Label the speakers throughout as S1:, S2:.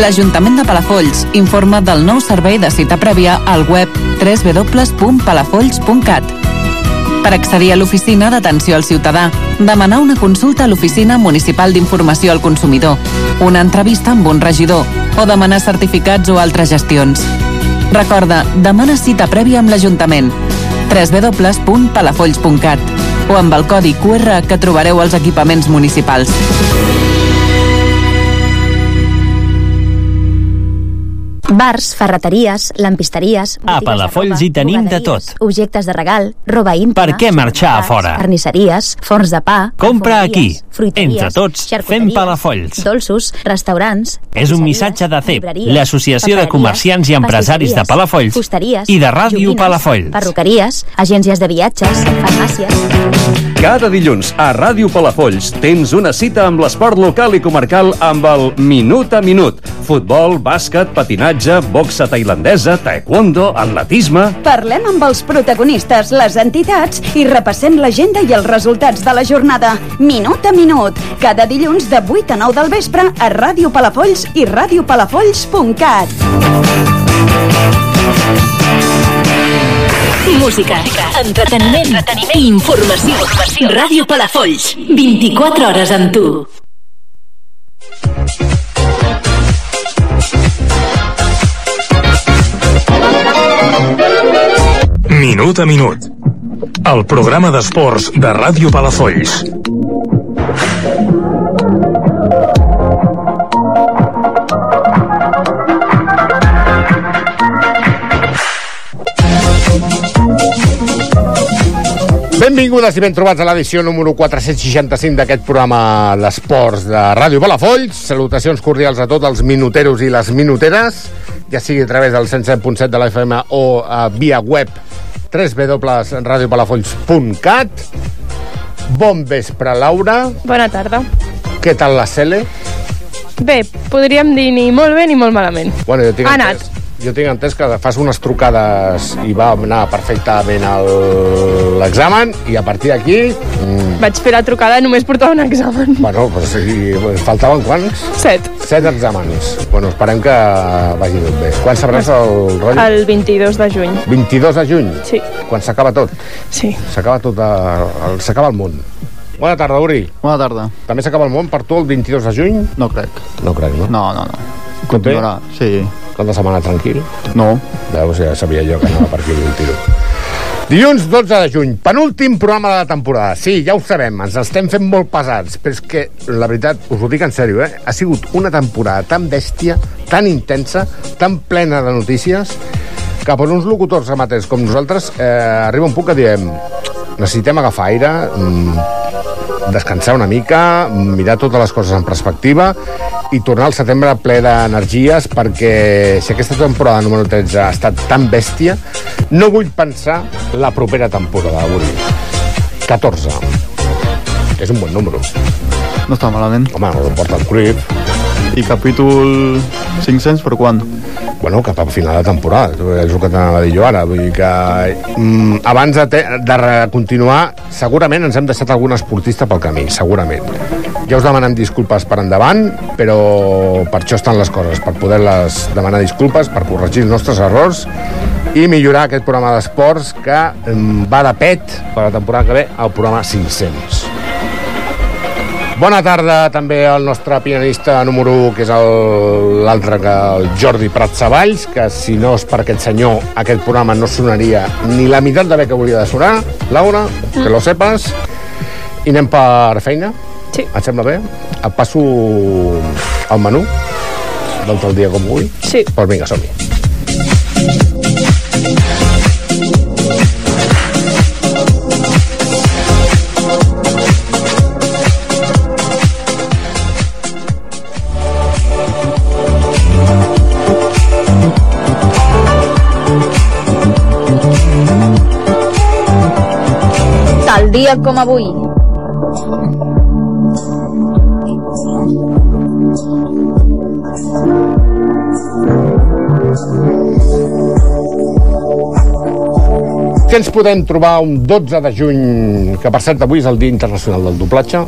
S1: L'Ajuntament de Palafolls informa del nou servei de cita prèvia al web www.palafolls.cat. Per accedir a l'oficina d'atenció al ciutadà, demanar una consulta a l'Oficina Municipal d'Informació al Consumidor, una entrevista amb un regidor o demanar certificats o altres gestions. Recorda, demana cita prèvia amb l'Ajuntament www.palafolls.cat o amb el codi QR que trobareu als equipaments municipals.
S2: Bars, ferreteries, lampisteries...
S3: A
S2: botigues
S3: Palafolls
S2: de roba,
S3: Ah, hi tenim de
S2: bugaderies,
S3: tot.
S2: Objectes de regal, roba íntima...
S3: Per què marxar a
S2: supermercats,
S3: fora?
S2: Carnisseries, forns de pa...
S3: Compra
S2: perfumeries,
S3: aquí.
S2: fruiteries,
S3: Entre tots, fem
S2: xarcuteries,
S3: Palafolls.
S2: Dolços,
S3: És
S2: restaurants...
S3: un
S2: tapisseries,
S3: missatge de CEP,
S2: llibreries,
S3: l'Associació de
S2: papereries,
S3: Comerciants i Empresaris de
S2: pastisseries,
S3: Palafolls
S2: fusteries,
S3: i de Ràdio
S2: joguines,
S3: Palafolls.
S2: Perruqueries, agències de viatges, farmàcies...
S4: Cada dilluns a Ràdio Palafolls tens una cita amb l'esport local i comarcal amb el Minut a Minut. Futbol, bàsquet, patinatge, boxa tailandesa, taekwondo, atletisme...
S5: Parlem amb els protagonistes, les entitats i repassem l'agenda i els resultats de la jornada. Minut a minut. Cada dilluns de 8 a 9 del vespre a Ràdio Palafolls i radiopalafolls.cat.
S6: Música, entreteniment, entreteniment i informació. Ràdio Palafolls, 24 hores amb tu.
S7: Minut a minut. El programa d'esports de Ràdio Palafolls.
S8: Benvingudes i ben trobats a l'edició número 465 d'aquest programa L'Esports de Ràdio Palafolls. Salutacions cordials a tots els minuteros i les minuteres, ja sigui a través del 107.7 de la FM o eh, via web www.radiopalafolls.cat Bon vespre, Laura.
S9: Bona tarda.
S8: Què tal la Cele?
S9: Bé, podríem dir ni molt bé ni molt malament.
S8: Bueno, jo tinc
S9: Ha anat.
S8: entès, jo tinc entès que fas unes trucades i va anar perfectament el- l'examen i a partir d'aquí... Mm,
S9: Vaig fer la trucada, només portava un examen.
S8: bueno, però sí, faltaven quants?
S9: Set.
S8: Set exàmens. Bueno, esperem que vagi tot bé. Quan sabràs el rotllo?
S9: El 22 de juny.
S8: 22 de juny?
S9: Sí.
S8: Quan s'acaba tot?
S9: Sí.
S8: S'acaba tot, eh, el- s'acaba el món. Bona tarda, Uri.
S10: Bona tarda.
S8: També s'acaba el món per tu el 22 de juny?
S10: No crec.
S8: No crec, no?
S10: No, no, no.
S8: Tot bé?
S10: Continuarà. Sí.
S8: Cap de setmana tranquil?
S10: No.
S8: Veus, ja sabia jo que anava per aquí un tiro. Dilluns 12 de juny, penúltim programa de la temporada. Sí, ja ho sabem, ens estem fent molt pesats, però és que, la veritat, us ho dic en sèrio, eh? ha sigut una temporada tan bèstia, tan intensa, tan plena de notícies, que per uns locutors amateurs com nosaltres eh, arriba un punt que diem necessitem agafar aire, mm, descansar una mica, mirar totes les coses en perspectiva i tornar al setembre ple d'energies perquè si aquesta temporada número 13 ha estat tan bèstia, no vull pensar la propera temporada, avui. 14. És un bon número.
S10: No està malament.
S8: Home, no ho porta el Cruyff.
S10: I capítol 500 per quan?
S8: Bueno, cap a final de temporada, és el que t'anava a dir jo ara. Vull dir que mm, abans de, te- de re- continuar, segurament ens hem deixat algun esportista pel camí, segurament. Ja us demanem disculpes per endavant, però per això estan les coses, per poder-les demanar disculpes, per corregir els nostres errors i millorar aquest programa d'esports que mm, va de pet per la temporada que ve al programa 500. Bona tarda també al nostre pianista número 1, que és el- l'altre que el Jordi Prat Savalls, que si no és per aquest senyor, aquest programa no sonaria ni la meitat de bé que volia de sonar. Laura, que lo sepas. I anem per feina.
S9: Sí.
S8: Et sembla bé? Et passo el menú d'altre dia com avui.
S9: Sí.
S8: Doncs vinga, som-hi.
S11: Tal dia com avui.
S8: Què ens podem trobar un 12 de juny, que per cert avui és el Dia Internacional del Doblatge?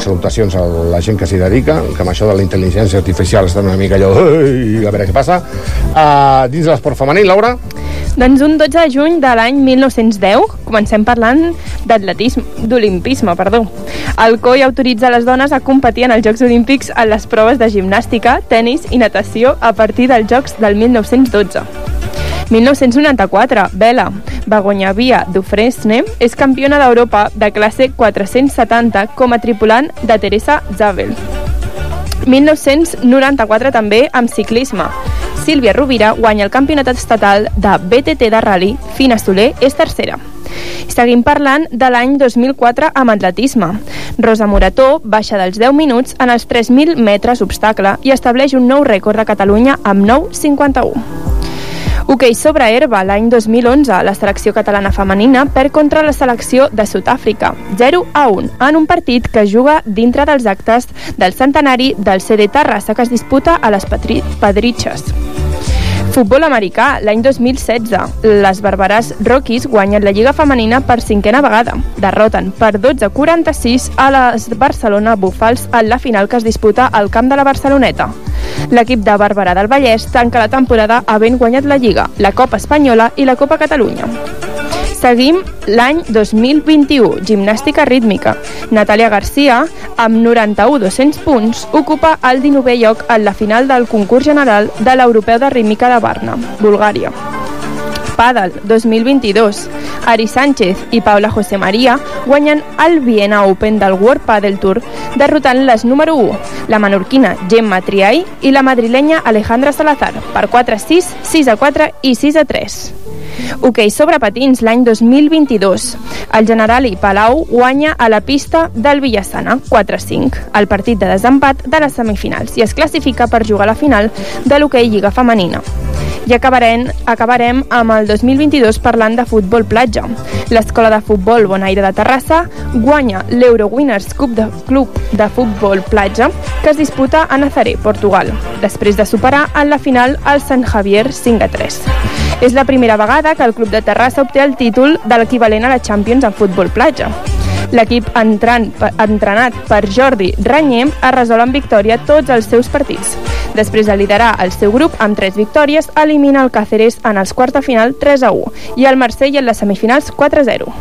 S8: Salutacions a la gent que s'hi dedica, que amb això de la intel·ligència artificial estan una mica allò... "Ei, A veure què passa. Uh, dins de l'esport femení, Laura?
S9: Doncs un 12 de juny de l'any 1910 comencem parlant d'atletisme, d'olimpisme, perdó. El COI autoritza les dones a competir en els Jocs Olímpics en les proves de gimnàstica, tennis i natació a partir dels Jocs del 1912. 1994, Vela, Begoña Via Dufresne, és campiona d'Europa de classe 470 com a tripulant de Teresa Zabel. 1994 també amb ciclisme. Sílvia Rovira guanya el campionat estatal de BTT de rally, Fina Soler és tercera. Seguim parlant de l'any 2004 amb atletisme. Rosa Morató baixa dels 10 minuts en els 3.000 metres obstacle i estableix un nou rècord de Catalunya amb 9,51. Hoquei sobre herba, l'any 2011, la selecció catalana femenina perd contra la selecció de Sud-àfrica, 0 a 1, en un partit que es juga dintre dels actes del centenari del CD Terrassa que es disputa a les Patri Pedritxes. Futbol americà, l'any 2016. Les Barberàs Rockies guanyen la Lliga Femenina per cinquena vegada. Derroten per 12-46 a les Barcelona Bufals en la final que es disputa al camp de la Barceloneta. L'equip de Barberà del Vallès tanca la temporada havent guanyat la Lliga, la Copa Espanyola i la Copa Catalunya. Seguim l'any 2021, gimnàstica rítmica. Natàlia Garcia, amb 91-200 punts, ocupa el 19è lloc en la final del concurs general de l'Europeu de Rítmica de Varna, Bulgària. Padel 2022. Ari Sánchez i Paula José María guanyen el Viena Open del World Padel Tour, derrotant les número 1, la menorquina Gemma Triay i la madrilenya Alejandra Salazar, per 4-6, 6-4 i 6-3. Hoquei sobre patins l'any 2022. El general i Palau guanya a la pista del Villassana 4-5, el partit de desempat de les semifinals, i es classifica per jugar a la final de l'hoquei Lliga Femenina. I acabarem, acabarem amb el 2022 parlant de futbol platja. L'escola de futbol Bonaire de Terrassa guanya l'Euro Winners Cup de Club de Futbol Platja que es disputa a Nazaré, Portugal, després de superar en la final el Sant Javier 5 3. És la primera vegada que el club de Terrassa obté el títol de l'equivalent a la Champions en futbol platja. L'equip entrant, entrenat per Jordi Ranyer ha resolt amb victòria tots els seus partits. Després de liderar el seu grup amb 3 victòries, elimina el Cáceres en els quarts de final 3 a 1 i el Marsella en les semifinals 4 a 0.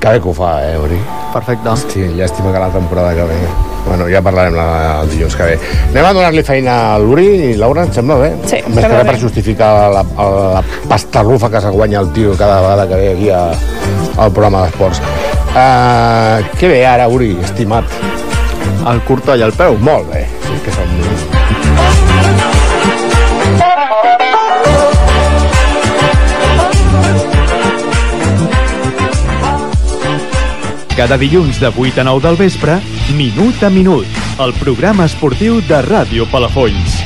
S8: Que bé que ho fa, eh, Uri? Perfecte. Hosti, llàstima que la temporada que ve... Bueno, ja parlarem la, el dilluns que ve. Anem a donar-li feina a l'Uri i Laura, et sembla bé?
S9: Sí, em
S8: Més que
S9: sembla
S8: res
S9: bé.
S8: per justificar la, la pastarufa que se guanya el tio cada vegada que ve aquí a, al programa d'esports. Uh, què ve ara, Uri, estimat? El curta i el peu. Molt bé, sí, que som...
S12: Cada dilluns de 8 a 9 del vespre, Minut a Minut, el programa esportiu de Ràdio Palafolls.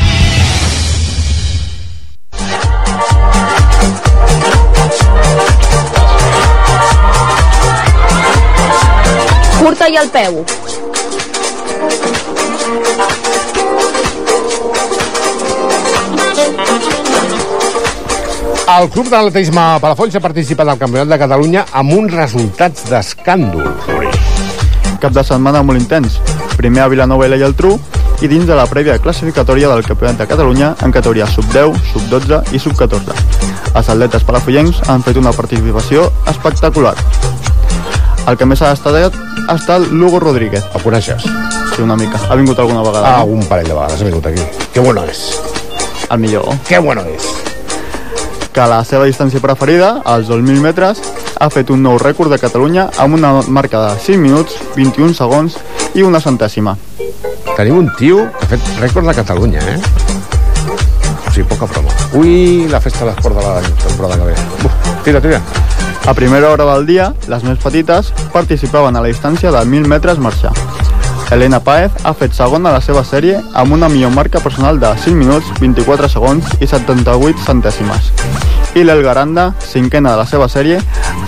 S13: Curta i al peu.
S8: El Club d'Atletisme Palafolls ha participat al Campionat de Catalunya amb uns resultats d'escàndol. Uri.
S10: Cap de setmana molt intens. Primer a Vilanova i la Geltrú i dins de la prèvia classificatòria del Campionat de Catalunya en categoria sub-10, sub-12 i sub-14. Els atletes palafollencs han fet una participació espectacular. El que més ha destacat ha estat Lugo Rodríguez.
S8: El coneixes?
S10: Sí, una mica. Ha vingut alguna vegada.
S8: Ah, un parell de vegades ha vingut aquí. Que bueno és.
S10: El millor.
S8: Que bueno és.
S10: que a la seva distància preferida, als 2.000 metres, ha fet un nou rècord de Catalunya amb una marca de 5 minuts, 21 segons i una centèsima.
S8: Tenim un tio que ha fet rècord de Catalunya, eh? O sigui, poca broma. Ui, la festa de l'esport de la temporada que ve. Uf, tira, tira.
S10: A primera hora del dia, les més petites participaven a la distància de 1.000 metres marxar. Elena Paez ha fet segona a la seva sèrie amb una millor marca personal de 5 minuts, 24 segons i 78 centèsimes. I l'Elgaranda, cinquena de la seva sèrie,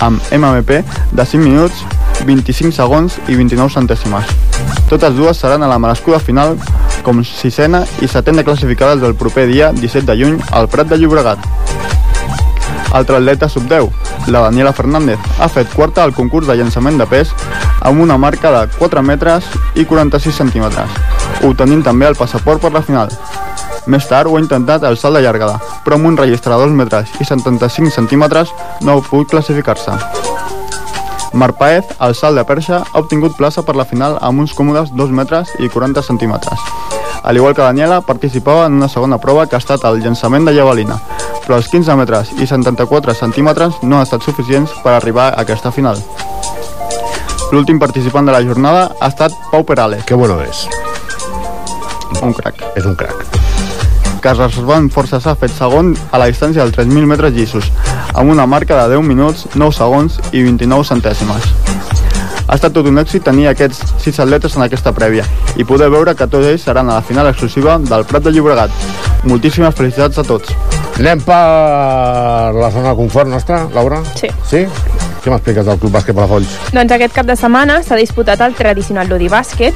S10: amb MMP de 5 minuts, 25 segons i 29 centèsimes. Totes dues seran a la merescuda final com sisena i setena classificades del proper dia 17 de juny al Prat de Llobregat. Altra atleta sub-10, la Daniela Fernández, ha fet quarta al concurs de llançament de pes amb una marca de 4 metres i 46 centímetres, obtenint també el passaport per la final. Més tard ho ha intentat al salt de llargada, però amb un registre de 2 metres i 75 centímetres no ha pogut classificar-se. Marc Paez, al salt de perxa, ha obtingut plaça per la final amb uns còmodes 2 metres i 40 centímetres. Al igual que Daniela, participava en una segona prova que ha estat el llançament de javelina, però els 15 metres i 74 centímetres no han estat suficients per arribar a aquesta final. L'últim participant de la jornada ha estat Pau Perales.
S8: Que bueno és.
S10: Un crac.
S8: És un crac.
S10: Que es reservant forces ha fet segon a la distància dels 3.000 metres llisos, amb una marca de 10 minuts, 9 segons i 29 centèsimes. Ha estat tot un èxit tenir aquests sis atletes en aquesta prèvia i poder veure que tots ells seran a la final exclusiva del Prat de Llobregat. Moltíssimes felicitats a tots.
S8: Anem per la zona de confort nostra, Laura?
S9: Sí.
S8: Sí? Què m'expliques del Club Bàsquet Palafolls?
S9: Doncs aquest cap de setmana s'ha disputat el tradicional Ludi Bàsquet,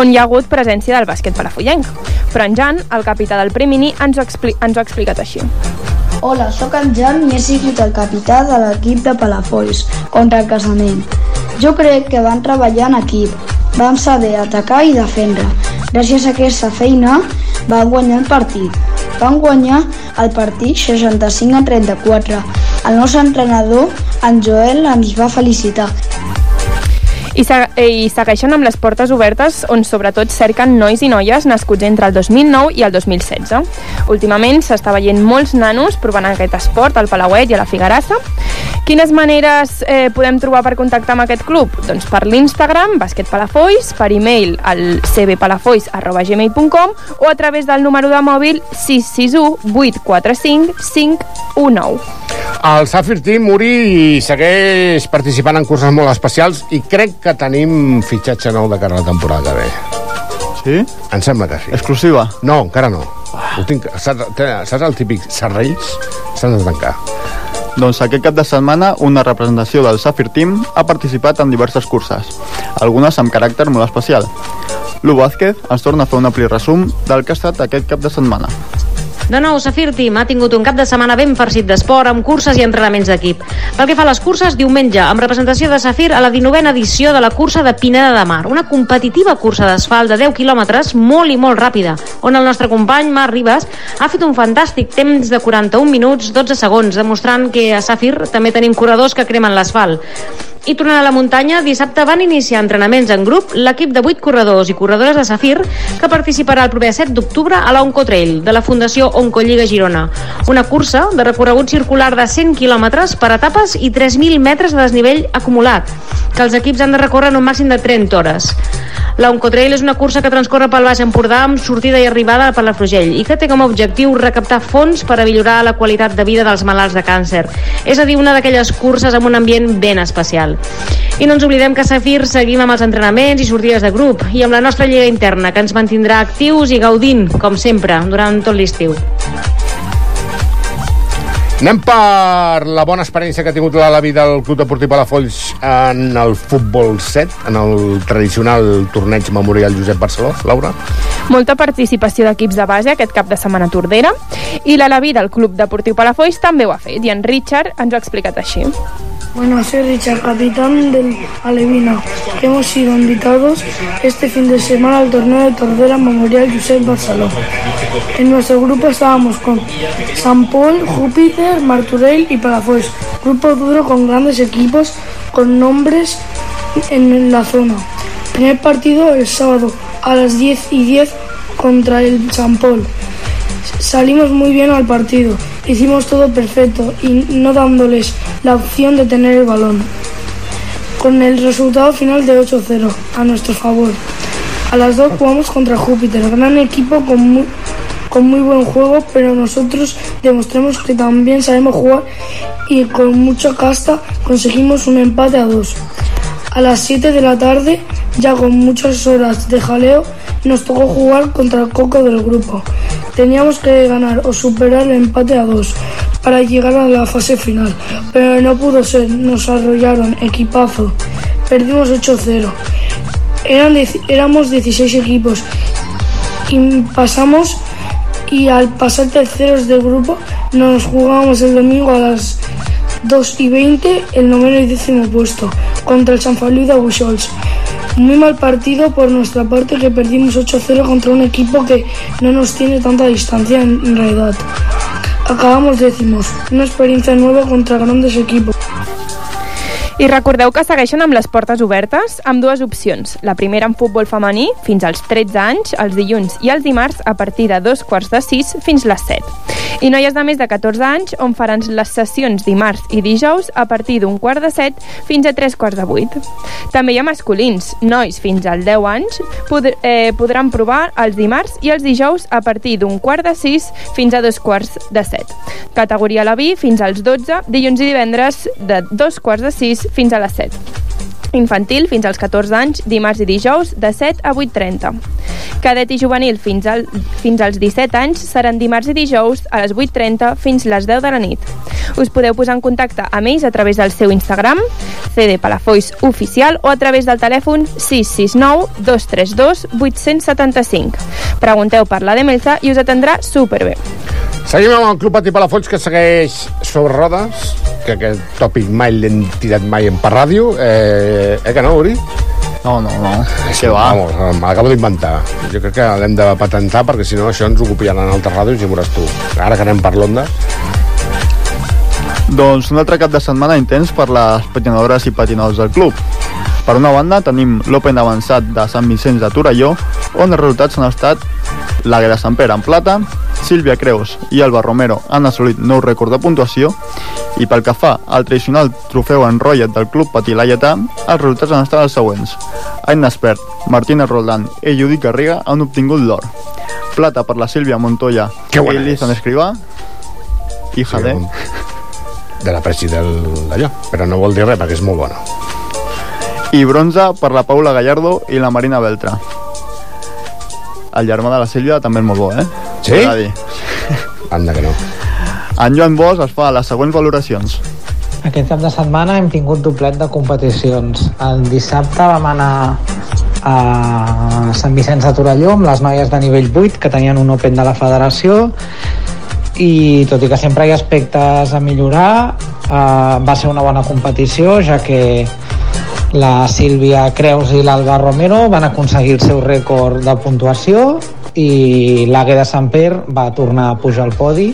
S9: on hi ha hagut presència del bàsquet palafollenc. Però en Jan, el capità del Primini, ens ho, expli ens ho ha explicat així.
S11: Hola, sóc en Jan i he sigut el capità de l'equip de Palafolls contra el casament. Jo crec que van treballar en equip. Vam saber atacar i defendre. Gràcies a aquesta feina vam guanyar el partit. Vam guanyar el partit 65 a 34. El nostre entrenador, en Joel, ens va felicitar.
S9: I, se eh, I segueixen amb les portes obertes on sobretot cerquen nois i noies nascuts entre el 2009 i el 2016. Últimament s'està veient molts nanos provant aquest esport al Palauet i a la Figarassa. Quines maneres eh, podem trobar per contactar amb aquest club? Doncs per l'Instagram, Basquet Palafolls, per e-mail al cbpalafolls.gmail.com o a través del número de mòbil 661 845 519.
S8: El Safir Team, Uri, segueix participant en curses molt especials i crec que tenim fitxatge nou de cara a la temporada que ve.
S10: Sí?
S8: Em sembla que sí.
S10: Exclusiva?
S8: No, encara no. Ho tinc, saps, té- saps el típic serrells? S'han de tancar.
S10: Doncs aquest cap de setmana una representació del Safir Team ha participat en diverses curses, algunes amb caràcter molt especial. Lu Vázquez ens torna a fer un ampli resum del que ha estat aquest cap de setmana.
S14: De nou, Safir Team ha tingut un cap de setmana ben farcit d'esport amb curses i entrenaments d'equip. Pel que fa a les curses, diumenge, amb representació de Safir a la 19a edició de la cursa de Pineda de Mar, una competitiva cursa d'asfalt de 10 quilòmetres molt i molt ràpida, on el nostre company, Marc Ribas, ha fet un fantàstic temps de 41 minuts, 12 segons, demostrant que a Safir també tenim corredors que cremen l'asfalt. I tornant a la muntanya, dissabte van iniciar entrenaments en grup l'equip de 8 corredors i corredores de Safir que participarà el proper 7 d'octubre a la Onco Trail de la Fundació Oncolliga Girona. Una cursa de recorregut circular de 100 quilòmetres per etapes i 3.000 metres de desnivell acumulat, que els equips han de recórrer en un màxim de 30 hores. La Oncotrail és una cursa que transcorre pel Baix Empordà amb sortida i arribada per la Frugell i que té com a objectiu recaptar fons per a millorar la qualitat de vida dels malalts de càncer. És a dir, una d'aquelles curses amb un ambient ben especial. I no ens oblidem que a Safir seguim amb els entrenaments i sortides de grup i amb la nostra lliga interna, que ens mantindrà actius i gaudint, com sempre, durant tot l'estiu.
S8: Anem per la bona experiència que ha tingut l'Alavi del Club Deportiu Palafolls en el futbol 7, en el tradicional torneig memorial Josep Barceló. Laura?
S9: Molta participació d'equips de base aquest cap de setmana a Tordera i l'Alaví del Club Deportiu Palafolls també ho ha fet i en Richard ens ho ha explicat així.
S15: Bueno, soy Richard, capitán del Alevina, que hemos sido invitados este fin de semana al torneo de Tordera Memorial Josep Barceló. En nuestro grupo estábamos con San Paul, Júpiter, Marturell y Palafox, grupo duro con grandes equipos con nombres en la zona. Primer partido el sábado a las 10 y 10 contra el San Paul. Salimos muy bien al partido, hicimos todo perfecto y no dándoles la opción de tener el balón. Con el resultado final de 8-0 a nuestro favor. A las dos jugamos contra Júpiter, gran equipo con muy, con muy buen juego, pero nosotros demostramos que también sabemos jugar y con mucha casta conseguimos un empate a dos. A las 7 de la tarde, ya con muchas horas de jaleo, nos tocó jugar contra el coco del grupo. Teníamos que ganar o superar el empate a dos para llegar a la fase final, pero no pudo ser, nos arrollaron, equipazo. Perdimos 8-0. Eran dieci- éramos 16 equipos y pasamos
S16: y al pasar terceros del grupo nos jugamos el domingo a las 2 y 20 el noveno y décimo puesto contra el San Feliu de Bushols. Muy mal partido por nuestra parte que perdimos 8-0 contra un equipo que no nos tiene tanta distancia en en realidad. Acabamos décimos, una experiencia nueva contra grandes equipos.
S9: I recordeu que segueixen amb les portes obertes amb dues opcions. La primera en futbol femení fins als 13 anys, els dilluns i els dimarts a partir de dos quarts de sis fins les 7. I noies de més de 14 anys on faran les sessions dimarts i dijous a partir d'un quart de set fins a tres quarts de vuit. També hi ha masculins. Nois fins als 10 anys pod eh, podran provar els dimarts i els dijous a partir d'un quart de sis fins a dos quarts de set. Categoria la B fins als 12, dilluns i divendres de dos quarts de sis fins a les 7. Infantil fins als 14 anys, dimarts i dijous, de 7 a 8.30. Cadet i juvenil fins, al, fins als 17 anys seran dimarts i dijous a les 8.30 fins les 10 de la nit. Us podeu posar en contacte amb ells a través del seu Instagram, CD Palafolls Oficial, o a través del telèfon 669 232 875. Pregunteu per la Demelza i us atendrà superbé.
S8: Seguim amb el Club Patí Palafolls, que segueix sobre rodes, que aquest tòpic mai l'hem tirat mai en per ràdio. Eh, eh que no, Uri?
S10: No, no, no.
S8: Que va. Vamos, eh, me l'acabo d'inventar. Jo crec que l'hem de patentar perquè si no això ens ho copiaran altres ràdios i ho veuràs tu. Ara que anem per l'Onda,
S10: Doncs un altre cap de setmana intens per les patinadores i patinadors del club. Per una banda tenim l'Open avançat de Sant Vicenç de Torelló, on els resultats han estat la de Sant Pere en plata, Sílvia Creus i Alba Romero han assolit nou rècord de puntuació i pel que fa al tradicional trofeu en rotllet del club Patí Laietà, els resultats han estat els següents. Aina Espert, Martina Roldán i Judit Garriga han obtingut l'or. Plata per la Sílvia Montoya
S8: Que
S10: i
S8: bona
S10: Lizan Escrivà, hija de...
S8: de la presi del- d'allò. Però no vol dir res, perquè és molt bona.
S10: i bronze per la Paula Gallardo i la Marina Beltra. El germà de la Sílvia també és molt bo, eh?
S8: Sí?
S10: Ho he de dir.
S8: Anda que no.
S10: En Joan Bosch es fa les següents valoracions.
S17: Aquest cap de setmana hem tingut doblet de competicions. El dissabte vam anar a Sant Vicenç de Torelló amb les noies de nivell 8 que tenien un Open de la federació i tot i que sempre hi ha aspectes a millorar eh, va ser una bona competició ja que la Sílvia Creus i l'Alba Romero van aconseguir el seu rècord de puntuació i l'Ague de Sant Pere va tornar a pujar al podi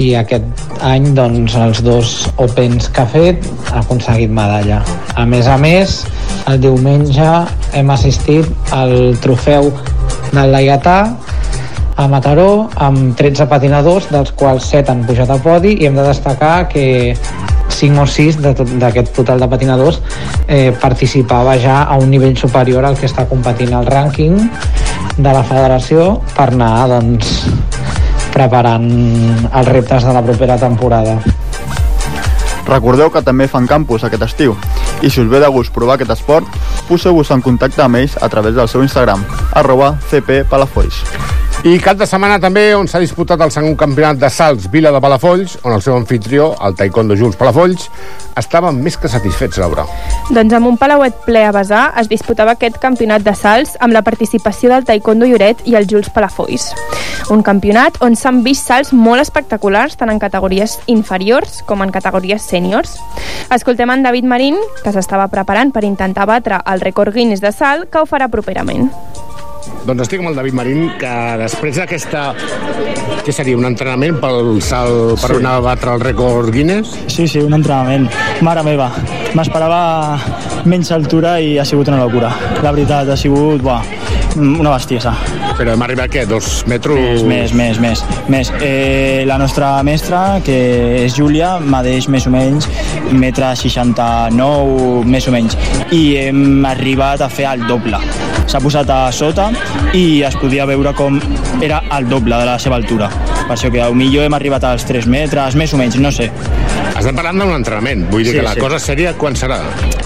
S17: i aquest any doncs, els dos Opens que ha fet ha aconseguit medalla. A més a més, el diumenge hem assistit al trofeu del Laietà a Mataró amb 13 patinadors, dels quals 7 han pujat a podi i hem de destacar que 5 o 6 de tot- d'aquest total de patinadors eh, participava ja a un nivell superior al que està competint el rànquing de la federació per anar doncs, preparant els reptes de la propera temporada.
S10: Recordeu que també fan campus aquest estiu i si us ve de gust provar aquest esport, poseu-vos en contacte amb ells a través del seu Instagram, arroba cppalafolls.
S8: I cap de setmana també on s'ha disputat el segon campionat de salts Vila de Palafolls, on el seu anfitrió, el taekwondo Jules Palafolls, estava més que satisfets, Laura.
S9: Doncs amb un palauet ple a besar es disputava aquest campionat de salts amb la participació del Taekwondo Lloret i el Jules Palafolls. Un campionat on s'han vist salts molt espectaculars tant en categories inferiors com en categories sèniors. Escoltem en David Marín, que s'estava preparant per intentar batre el rècord Guinness de salt que ho farà properament.
S8: Doncs estic amb el David Marín, que després d'aquesta... Què seria, un entrenament pel salt, per
S18: Sí.
S8: anar a batre el rècord Guinness?
S18: Sí, sí, un entrenament. Mare meva, m'esperava menys altura i ha sigut una locura. La veritat, ha sigut buah, mm, una bestiesa.
S8: Però hem arribat, què, dos metros?
S18: Més, més, més, més. més. Eh, la nostra mestra, que és Júlia, medeix més o menys metre 69, més o menys. I hem arribat a fer el doble. S'ha posat a sota i es podia veure com era el doble de la seva altura. Per això que millor hem arribat als 3 metres, més o menys, no sé.
S8: Estem parlant d'un entrenament, vull dir
S18: Sí,
S8: que la
S18: sí.
S8: cosa seria quan serà?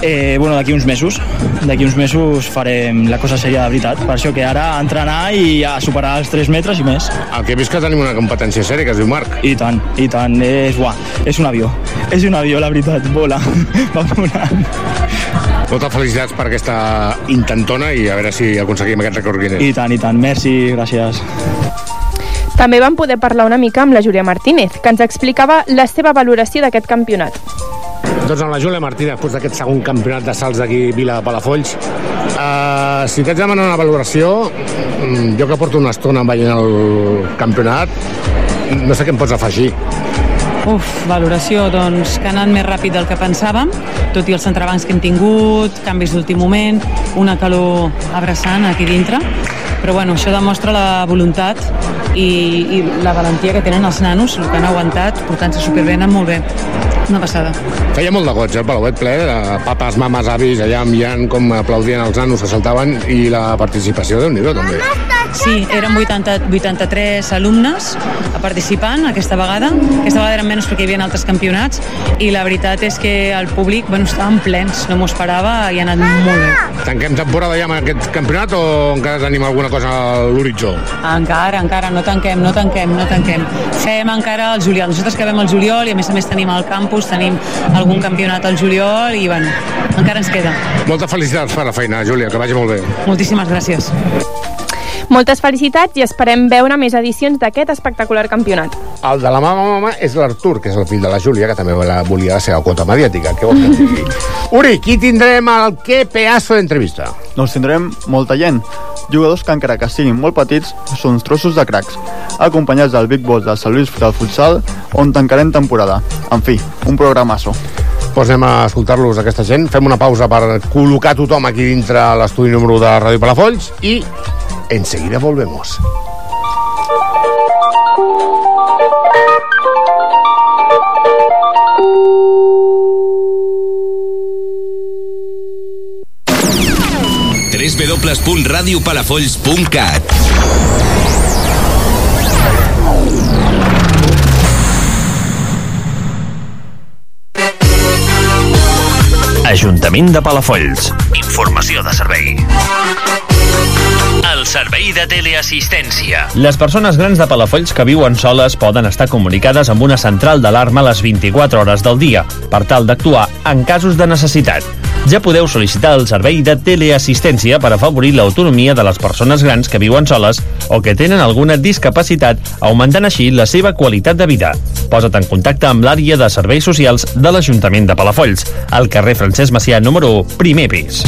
S18: Eh, bueno, d'aquí uns mesos. D'aquí uns mesos farem la cosa seria de veritat. Per això que ara entrenar i a superar els 3 metres i més.
S8: El que he vist que tenim una competència sèria, que es diu Marc.
S18: I tant, i tant. És, buah, és un avió. És un avió, la veritat. Vola. Va volant.
S8: Moltes felicitats per aquesta intentona i a veure si aconseguim aquest rècord Guinness.
S18: I tant, i tant. Merci, gràcies.
S9: També vam poder parlar una mica amb la Júlia Martínez, que ens explicava la seva valoració d'aquest campionat.
S8: Doncs amb la Júlia Martí, després d'aquest segon campionat de salts d'aquí Vila de Palafolls, eh, si t'haig de demanar una valoració, mm, jo que porto una estona veient el campionat, no sé què em pots afegir.
S19: Uf, valoració, doncs que ha anat més ràpid del que pensàvem, tot i els centrabancs que hem tingut, canvis d'últim moment, una calor abraçant aquí dintre, però bueno, això demostra la voluntat i, i la valentia que tenen els nanos, el que han aguantat, portant-se superbé, anant molt bé. Una passada.
S8: Feia molt de goig, eh, el Palauet ple, de papes, mames, avis, allà mirant com aplaudien els nanos que saltaven i la participació, de nhi do també.
S19: Sí, eren 80, 83 alumnes participant aquesta vegada. Aquesta vegada eren menys perquè hi havia altres campionats i la veritat és que el públic, bueno, estaven plens, no m'ho esperava i ha anat molt bé.
S8: Tanquem temporada ja amb aquest campionat o encara tenim alguna cosa a l'horitzó?
S19: Encara, encara, no tanquem, no tanquem, no tanquem. Fem encara el juliol. Nosaltres acabem el juliol i a més a més tenim el campus, tenim algun campionat al juliol i bueno, encara ens queda.
S8: Moltes felicitats per la feina, Júlia, que vagi molt bé.
S19: Moltíssimes gràcies.
S9: Moltes felicitats i esperem veure més edicions d'aquest espectacular campionat.
S8: El de la mama mama és l'Artur, que és el fill de la Júlia, que també la- volia la seva quota mediàtica. Què vols que et digui? Uri, qui tindrem al Que Pedazo d'entrevista?
S10: Doncs tindrem molta gent. Jugadors que encara que siguin molt petits, són uns trossos de cracs, acompanyats del Big Boss de Sant Lluís del Futsal, on tancarem temporada. En fi, un programasso.
S8: Doncs anem a escoltar-los, aquesta gent. Fem una pausa per col·locar tothom aquí dintre l'estudi número de Ràdio Palafolls i enseguida volvemos.
S20: www.radiopalafolls.cat
S3: Ajuntament de Palafolls. Informació de servei.
S21: El servei de teleassistència.
S3: Les persones grans de Palafolls que viuen soles poden estar comunicades amb una central d'alarma a les 24 hores del dia per tal d'actuar en casos de necessitat. Ja podeu sol·licitar el servei de teleassistència per afavorir l'autonomia de les persones grans que viuen soles o que tenen alguna discapacitat, augmentant així la seva qualitat de vida. Posa't en contacte amb l'àrea de serveis socials de l'Ajuntament de Palafolls, al carrer Francesc Macià número 1, primer pis.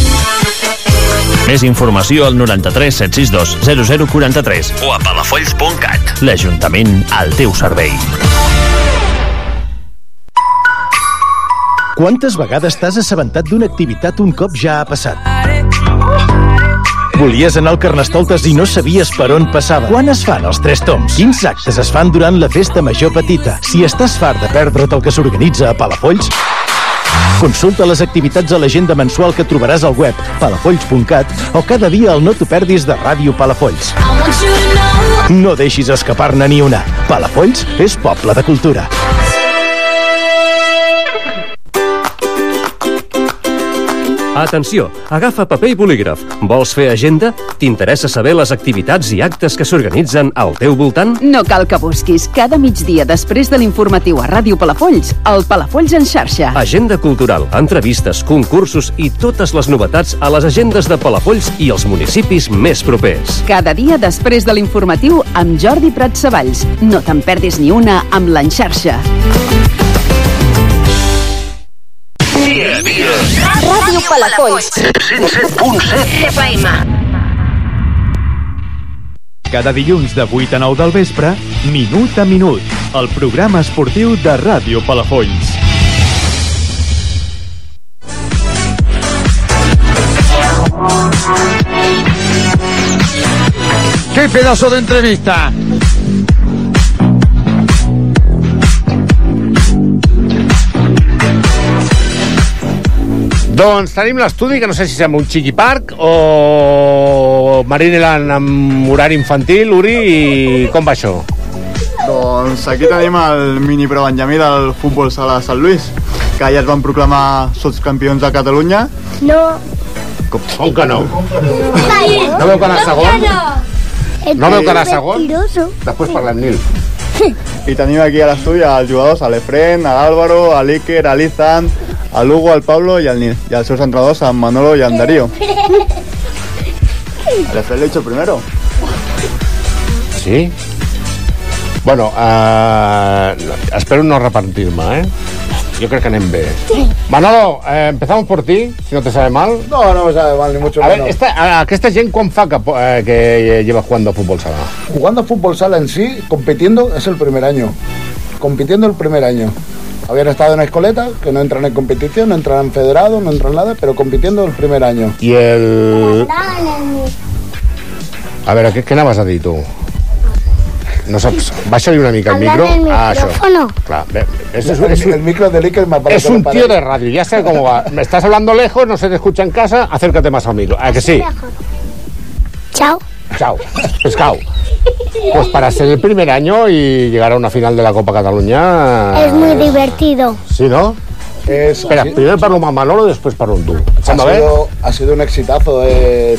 S3: Més informació al 93 762 0043
S21: O a palafolls.cat.
S3: L'Ajuntament al teu servei.
S22: Quantes vegades t'has assabentat d'una activitat un cop ja ha passat? Volies anar al Carnestoltes i no sabies per on passava. Quan es fan els tres toms? Quins actes es fan durant la festa major petita? Si estàs fart de perdre't el que s'organitza a Palafolls, consulta les activitats a l'agenda mensual que trobaràs al web palafolls.cat o cada dia al No t'ho perdis de Ràdio Palafolls. No deixis escapar-ne ni una. Palafolls és poble de cultura.
S4: Atenció, agafa paper i bolígraf. Vols fer agenda? T'interessa saber les activitats i actes que s'organitzen al teu voltant?
S1: No cal que busquis. Cada migdia després de l'informatiu a Ràdio Palafolls, el Palafolls en xarxa.
S4: Agenda cultural, entrevistes, concursos i totes les novetats a les agendes de Palafolls i els municipis més propers.
S1: Cada dia després de l'informatiu amb Jordi Prat Savalls. No te'n perdis ni una amb l'enxarxa.
S23: Dia a dia. Ràdio Palafolls. 107.7 FM.
S12: Cada dilluns de 8 a 9 del vespre, Minut a Minut, el programa esportiu de Ràdio Palafolls.
S24: ¡Qué pedazo de entrevista!
S8: Doncs tenim l'estudi, que no sé si sembla un chiqui park o Marineland amb horari infantil, Uri, i com va això?
S10: Doncs aquí tenim el mini pro Benjamí del futbol sala de Sant Lluís, que ja es van proclamar sotscampions de Catalunya.
S25: No.
S8: Com, com que no?
S25: No
S8: veu que anar segon? No veu que anar segon?
S25: Mentiroso.
S8: Després parlem, Nil.
S10: I tenim aquí a l'estudi els jugadors, a l'Efren, a l'Àlvaro, a l'Iker, a l'Izan, a l'Hugo, al Pablo i al Nil. I els seus entrenadors, en Manolo i en Darío. A l'Efren l'he hecho primero.
S8: Sí? Bueno, eh, espero no arrepentir-me, eh? Yo creo que anem bé. Manolo, eh, empezamos por ti, si no te sabe mal.
S26: No, no me sabe mal, ni mucho
S8: A ver,
S26: menos.
S8: esta, a- aquesta gent quan fa que, po- eh, que lleva jugando a fútbol sala?
S26: Jugando a fútbol sala en sí, compitiendo, es el primer año. Compitiendo el primer año. Habían estado en escoleta, que no entran en competición, no entran en federado, no entran en nada, pero compitiendo el primer año.
S8: I el... A veure, què, què anaves a dir tu? No saps... Baixa-li una mica el
S26: Hablar
S8: micro.
S26: en el
S8: Ah, això.
S26: micrófono.
S8: Clar, bé, és, és,
S26: El-
S8: és,
S26: el micro de Lickerman para
S8: es
S26: que lo
S8: un
S26: pare.
S8: tío de radio, ya sé cómo va. Me estás hablando lejos, no se te escucha en casa, acércate más al micro. ¿A que sí?
S26: Chao.
S8: Chao, pescado. Pues para ser el primer año y llegar a una final de la Copa Cataluña...
S26: Es muy divertido.
S8: Sí, ¿no? Espera, primero parlo más Manolo, después parlo tú.
S26: Pues Ha
S8: Sembla bé?
S26: sido, ha sido un exitazo. eh.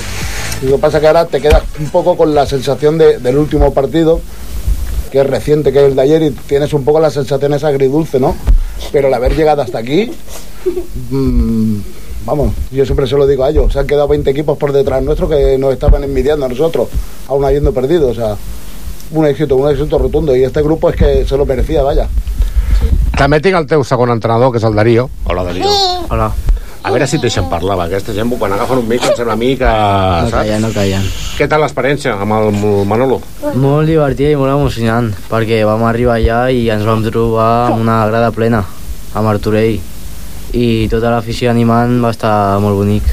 S26: Lo que pasa es que ahora te quedas un poco con la sensación de- del último partido, que es reciente, que es el de ayer, y tienes un poco las sensaciones agridulce, ¿no? Pero el haber llegado hasta aquí, mm, vamos, yo siempre se lo digo a ellos, se han quedado 20 equipos por detrás nuestro que nos estaban envidiando a nosotros, aún habiendo perdido, o sea, un éxito, un éxito rotundo, y este grupo es que se lo merecía, vaya.
S8: També tinc el teu segon entrenador, que és el Darío. Hola, Darío. Hola. A veure si et deixen parlar, va. aquesta gent quan agafen un micro em sembla a mi que...
S27: No callen, no callen.
S8: Què tal l'experiència amb el Manolo?
S27: Molt divertida i molt emocionant, perquè vam arribar allà i ens vam trobar amb una grada plena, a Martorell, i tota l'afició animant va estar molt bonic.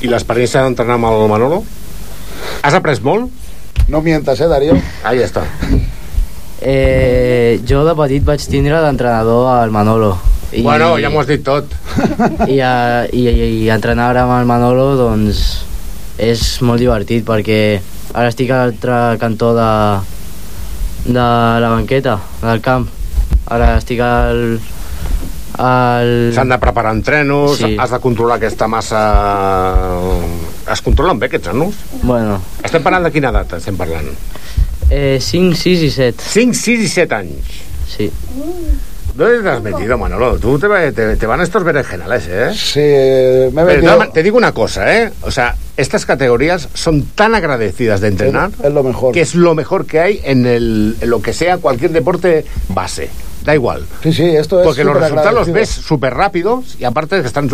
S8: I l'experiència d'entrenar amb el Manolo? Has après molt?
S26: No mientas, eh, Darío.
S8: Ahí està.
S27: Eh, jo de petit vaig tindre d'entrenador al Manolo.
S8: I... Bueno, ja m'ho has dit tot.
S27: I, a, i, i, i entrenar ara amb el Manolo doncs és molt divertit perquè ara estic a l'altre cantó de, de la banqueta del camp ara estic al... al...
S8: S'han de preparar entrenos, sí. has de controlar aquesta massa... eh, Es controlen bé aquests nanos?
S27: Bueno.
S8: Estem parlant de quina data estem parlant?
S27: Eh, 5, 6 i 7
S8: 5, 6 i 7 anys
S27: Sí
S8: ¿Dónde te has metido, Manolo? Tú te, va- te- te van estos berenjenales, ¿eh?
S26: Sí, me he
S8: Pero
S26: metido-
S8: no, te digo una cosa, ¿eh? O sea, estas categorías son tan agradecidas de entrenar.
S26: Es lo mejor.
S8: Que es lo mejor que hay en, el, en lo que sea cualquier deporte base. Da igual.
S26: Sí, sí, esto es
S8: Porque los resultados los
S26: superagradecido.
S8: ves súper rápidos y aparte de que están,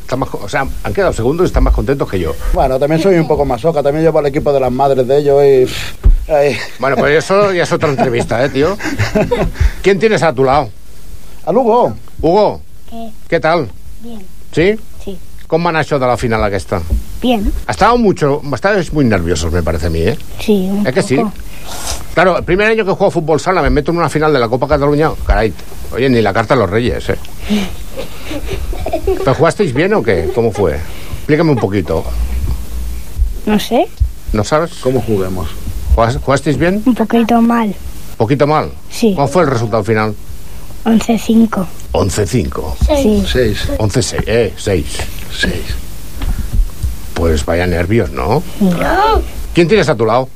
S8: están más, o sea, han quedado segundos y están más contentos que yo.
S26: Bueno, también soy un poco masoca, también llevo al equipo de las madres de ellos y... pff, ahí.
S8: Bueno, pues eso ya es otra entrevista, ¿eh, tío? ¿Quién tienes a tu lado?
S26: Al Hugo.
S8: Hugo, ¿qué tal?
S28: Bien,
S8: ¿Sí?
S28: sí.
S8: ¿Cómo han hecho de la final aquesta?
S28: Bien,
S8: Estaba mucho, estabais muy nerviosos, me parece a mí, ¿eh?
S28: sí. un
S8: Es que sí.
S28: poco.
S8: Claro, el primer año que juego a fútbol sala me meto en una final de la Copa Cataluña. Caray, oye, ni la carta de los Reyes, ¿eh? ¿Pero jugasteis bien o qué? ¿Cómo fue? Explícame un poquito.
S28: No sé,
S8: ¿No sabes? ¿Cómo juguemos? ¿Jugasteis bien?
S28: un poquito mal.
S8: ¿Poquito mal? Sí. ¿Cuál fue el resultado final?
S28: 11-5.
S8: 11-5.
S28: Sí.
S8: 6. 11-6, eh, 6. 6. Pues vaya nervios, ¿no?
S28: No.
S8: ¿Quién tienes a tu lado?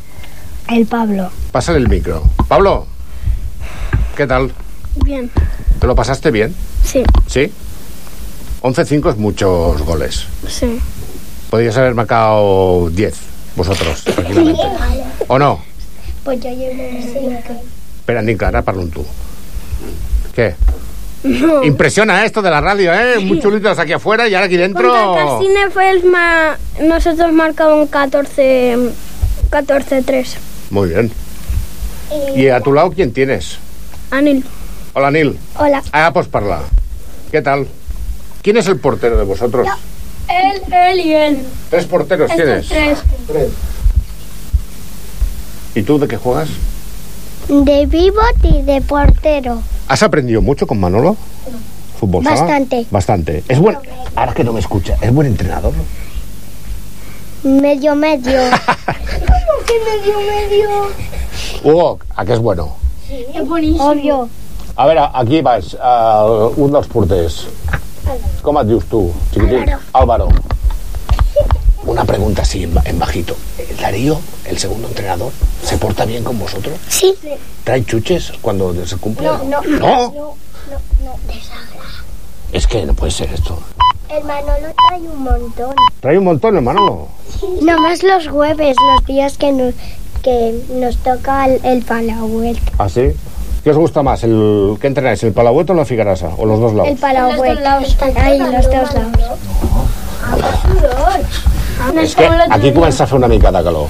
S28: El Pablo.
S8: Pásale el micro. Pablo, ¿qué tal?
S28: Bien.
S8: ¿Te lo pasaste bien?
S28: Sí.
S8: ¿Sí? 11-5 es muchos goles.
S28: Sí.
S8: Podrías haber marcado 10 vosotros, tranquilamente. ¿O no?
S28: Pues yo llevo
S8: Espera, Nick, ahora parlo un tú. ¿Qué?
S20: Oh.
S8: Impresiona eh, esto de la radio, ¿eh? Muy chulitos aquí afuera y ahora aquí
S20: Contra
S8: dentro.
S20: Carsine fue el más... Nosotros marcamos 14... 14-3.
S8: Muy bien. ¿Y a tu lado quién tienes?
S20: Anil.
S8: Hola, Nil.
S20: Hola.
S8: Ah, pues parla. ¿Qué tal? ¿Quién es el portero de vosotros?
S20: Él, él y él.
S8: Tres porteros tienes.
S20: tres.
S8: ¿Y tú de qué juegas?
S20: De pivot y de portero.
S8: ¿Has aprendido mucho con Manolo? Fútbol sala?
S20: Bastante.
S8: Bastante. Es buen. Ahora que no me escucha, es buen entrenador.
S20: Medio, medio. ¿Cómo que medio, medio?
S8: Hugo, ¿a qué es bueno?
S20: Es buenísimo. Obvio.
S8: A veure, aquí vas, uh, un dels porters. Com et dius tu, xiquitín? Álvaro. Una pregunta así en, ba- en bajito. ¿Darío, el segundo entrenador, se porta bien con vosotros?
S20: Sí.
S8: ¿Trae chuches cuando se cumple?
S20: No, no.
S8: ¿No?
S20: No, no, no. Desagra.
S8: Es que no puede ser esto.
S20: El Manolo trae un montón.
S8: Trae un montón, hermano.
S20: Nomás los jueves, los días que, no,
S28: que nos toca el, el Palahuel.
S8: ¿Ah, sí? ¿Qué os gusta más? El, ¿Qué entrenáis? ¿El Palauet o la Figuerasa? ¿O los dos lados?
S28: El Palahuel. Ahí, los dos lados.
S8: És que aquí comença a fer una mica de calor.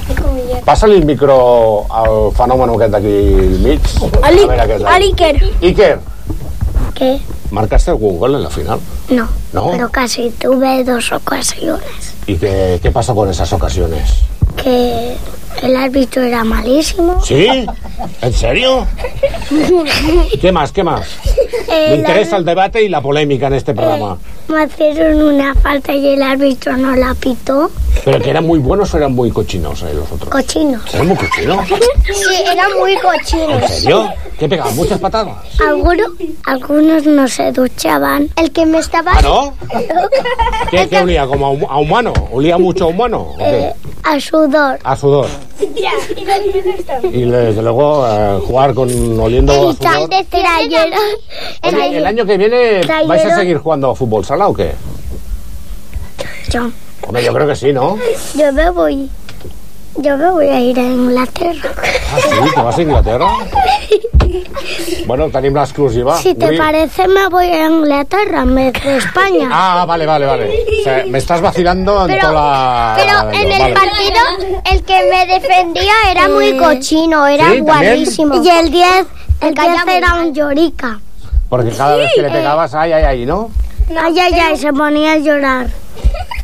S8: Passa-li el micro al fenomen aquest d'aquí al mig. A
S28: Al-
S8: veure què és.
S28: al Iker.
S8: Iker,
S28: ¿Qué?
S8: marcaste algun gol en la final?
S28: No,
S8: No?
S28: pero casi tuve dos ocasiones.
S8: ¿Y qué, qué pasó con esas ocasiones?
S28: Que el árbitro era malísimo.
S8: ¿Sí? ¿En serio? ¿Qué más? ¿Qué más? Me
S28: El
S8: interesa el debate y la polémica en este programa.
S28: árbitro- me hicieron una falta y el árbitro no la pitó.
S8: ¿Pero que eran muy buenos o eran muy cochinos eh, los otros?
S28: Cochino.
S8: ¿Eran muy cochinos?
S28: Sí, eran muy cochinos.
S8: ¿En serio? ¿Qué pegaban? ¿Muchas patadas?
S28: Algunos, algunos no se duchaban. El que me estaba...
S8: ¿Ah, no? ¿Qué, qué olía? ¿Como a, hum- a humano? ¿Olía mucho a humano? ¿O qué?
S28: A sudor.
S8: A sudor. Y desde luego eh, jugar con oliendo a
S28: El
S8: sudor.
S28: de trayero.
S8: Oye, el año que viene vais a seguir jugando a fútbol sala o qué?
S28: Yo,
S8: Hombre, yo creo que sí, ¿no?
S28: yo me voy. Yo me voy a ir a Inglaterra.
S8: Ah, sí, que vas a Inglaterra. Bueno, tenim l'exclusiva.
S28: Si te
S8: Avui-
S28: parece, me voy a Inglaterra en vez de España.
S8: Ah, vale, vale, vale. O sea, me estás vacilando en
S28: Pero-
S8: toda la...
S28: Pero en el
S8: Vale.
S28: partido el que me defendía era muy cochino, era
S8: ¿Sí? ¿También?
S28: guapísimo. Y el 10, el 10 era un llorica.
S8: Porque cada vez que le pegabas, ay, ay, ay, ¿no?
S28: Ay, ay, ay, se ponía a llorar.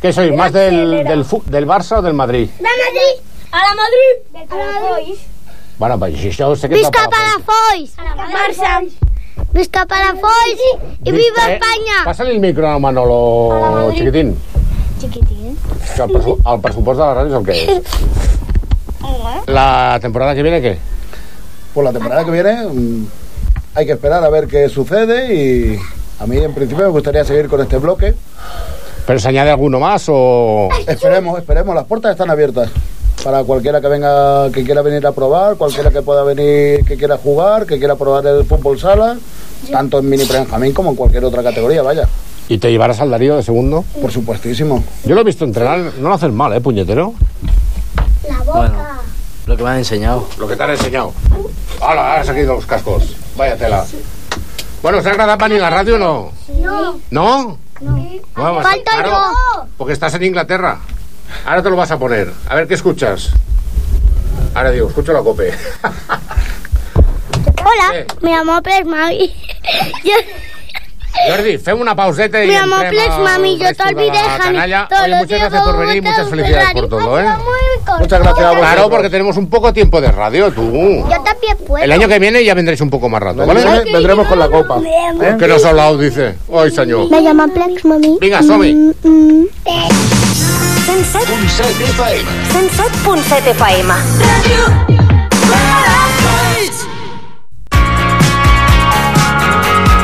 S8: ¿Qué sois, más del, del, fu- del Barça o del Madrid?
S28: ¡La Madrid! ¡A la Madrid! ¡A la Madrid!
S8: Bueno, pues això sé que...
S28: ¡Visca para Foix! ¡Barça! ¡Visca para Foix! ¡Y
S8: eh.
S28: viva España!
S8: Pásale el micro a Manolo, chiquitín.
S28: Chiquitín.
S8: Que El, presu el pressupost de la ràdio és el que és. La temporada que viene, ¿qué?
S26: Pues la temporada que viene mm, hay que esperar a ver qué sucede y a mí en principio me gustaría seguir con este bloque.
S8: ¿Pero se añade alguno más o...?
S26: Esperemos, esperemos, las puertas están abiertas para cualquiera que venga, que quiera venir a probar, cualquiera que pueda venir, que quiera jugar, que quiera probar el fútbol sala, tanto en mini Benjamín como en cualquier otra categoría, vaya.
S8: ¿Y te llevarás al Darío de segundo?
S26: Por supuestísimo.
S8: Yo lo he visto entrenar, no lo haces mal, ¿eh, puñetero?
S27: Bueno, lo que me han enseñado.
S8: Lo que te han enseñado. Hola, has seguido los cascos. Vaya tela. Bueno, ¿os ha agradat venir a la ràdio o no?
S28: No.
S8: No? No, vas-
S28: Falto
S8: claro,
S28: yo.
S8: Porque estás en Inglaterra. Ahora te lo vas a poner. A ver qué escuchas. Ahora digo, escucho la cope.
S28: Hola, me llamo Ples Mami. Yo,
S8: Jordi, fem una pauseta y
S28: me llamo
S8: entrem
S28: Ples
S8: al
S28: Mami, yo te
S8: resto de la
S28: olvidé,
S8: canalla.
S28: Jani.
S8: Oye,
S28: Todos los
S8: muchas
S28: días
S8: gracias por venir y muchas felicidades por todo, ¿eh?
S28: Muchas
S8: Claro, porque tenemos un poco tiempo de radio, tú.
S28: Yo también puedo.
S8: El año que viene ya vendréis un poco más rato, ¿vale?
S28: Vendremos- vendremos
S8: con la copa.
S28: ¿Eh?
S8: Que nos ha hablado, dice. Ay, señor.
S28: Me Mm. llaman Plex, mami.
S8: Vinga, som-hi.
S23: FM. 107.7 FM.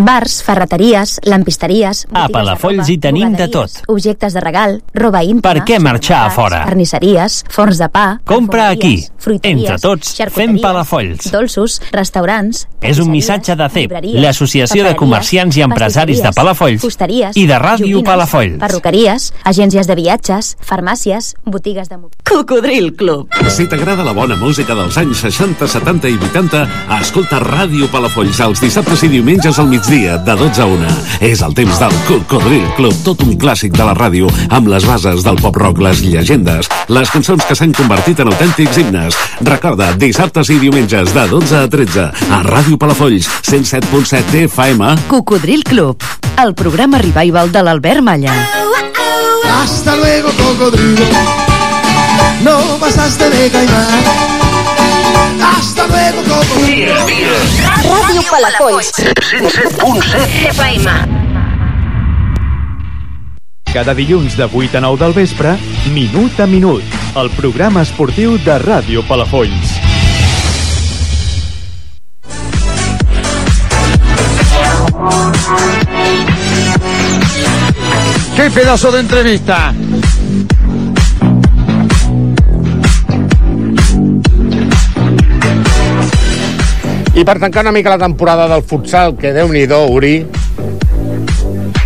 S2: Bars, ferreteries, lampisteries,
S21: A Palafolls hi tenim de tot.
S2: objectes de regal, roba íntima...
S21: Per què marxar a fora?
S2: Carnisseries, forns de pa...
S21: Compra aquí.
S2: fruiteries,
S21: Entre tots, fem
S2: xarcuteries,
S21: Palafolls.
S2: Dolços, restaurants...
S21: És un missatge de CEP,
S2: llibreries,
S21: l'Associació de
S2: papereries,
S21: Comerciants i Empresaris de
S2: pastisseries,
S21: Palafolls
S2: fusteries,
S21: i de Ràdio
S2: joguines,
S21: Palafolls.
S2: Perruqueries, agències de viatges, farmàcies, botigues de...
S13: Cocodril Club. Si t'agrada la bona música dels anys 60, 70 i 80, escolta Ràdio Palafolls els dissabtes i diumenges al migdia, de 12 a 1. És el temps del Cocodril Club, tot un clàssic de la ràdio, amb les bases del pop-rock, les llegendes, les cançons que s'han convertit en autèntics himnes. Recorda, dissabtes i diumenges, de 12 a 13, a Ràdio Palafolls, 107.7 FM.
S11: Cocodril Club, el programa revival de l'Albert Malla.
S24: Hasta luego, cocodrilo. No pasaste de caimán. Hasta luego, cocodrilo.
S23: Ràdio Palafolls.
S13: 107.7
S23: FM.
S12: Cada dilluns de 8 a 9 del vespre, Minut a Minut, el programa esportiu de Ràdio Palafolls.
S14: Qué pedazo de entrevista.
S8: I per tancar una mica la temporada del futsal, que déu-n'hi-do, Uri,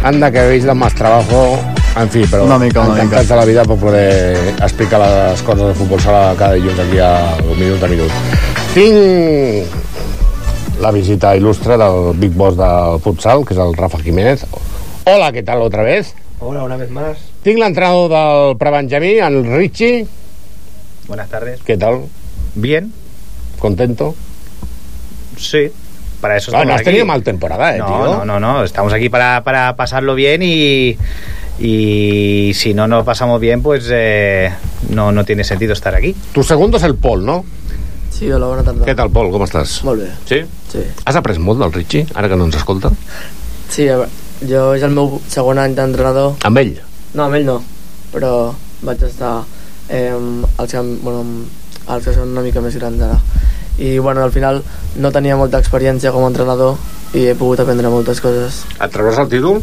S8: anda que veis del más trabajo, en fi, però
S10: Una mica, una
S8: encantats
S10: mica.
S8: de la vida per poder explicar les coses de futbol sala cada dilluns aquí a Minut a Minut. Tinc la visita il·lustre del Big Boss del futsal, que és el Rafa Jiménez. Hola, què tal, otra vez?
S16: Hola, una vez más.
S8: Tinc l'entrenador del Prebenjamí, el Richie.
S16: Buenas tardes.
S8: ¿Qué tal?
S16: Bien.
S8: ¿Contento?
S16: Sí. Para eso
S8: No,
S16: estamos
S8: Ah, no has
S16: aquí.
S8: tenido mal temporada, eh,
S16: no,
S8: tío.
S16: No, no, no. Estamos aquí para, para pasarlo bien y, y si no nos pasamos bien, pues eh, no, no tiene sentido estar aquí.
S8: Tu segundo es el Pol, ¿no?
S16: Sí, hola, buena tarde.
S8: Què tal, Pol? Com estàs?
S16: Molt bé.
S8: Sí?
S17: Sí.
S8: Has après molt del Richie, ara que no ens escolta?
S17: Sí, a veure, jo és el meu segon any d'entrenador.
S8: Amb ell?
S17: No, amb ell no, però vaig estar eh, als, que, bueno, amb els que són una mica més grans ara. I bueno, al final no tenia molta experiència com a entrenador i he pogut aprendre moltes coses.
S8: Et treuràs el títol?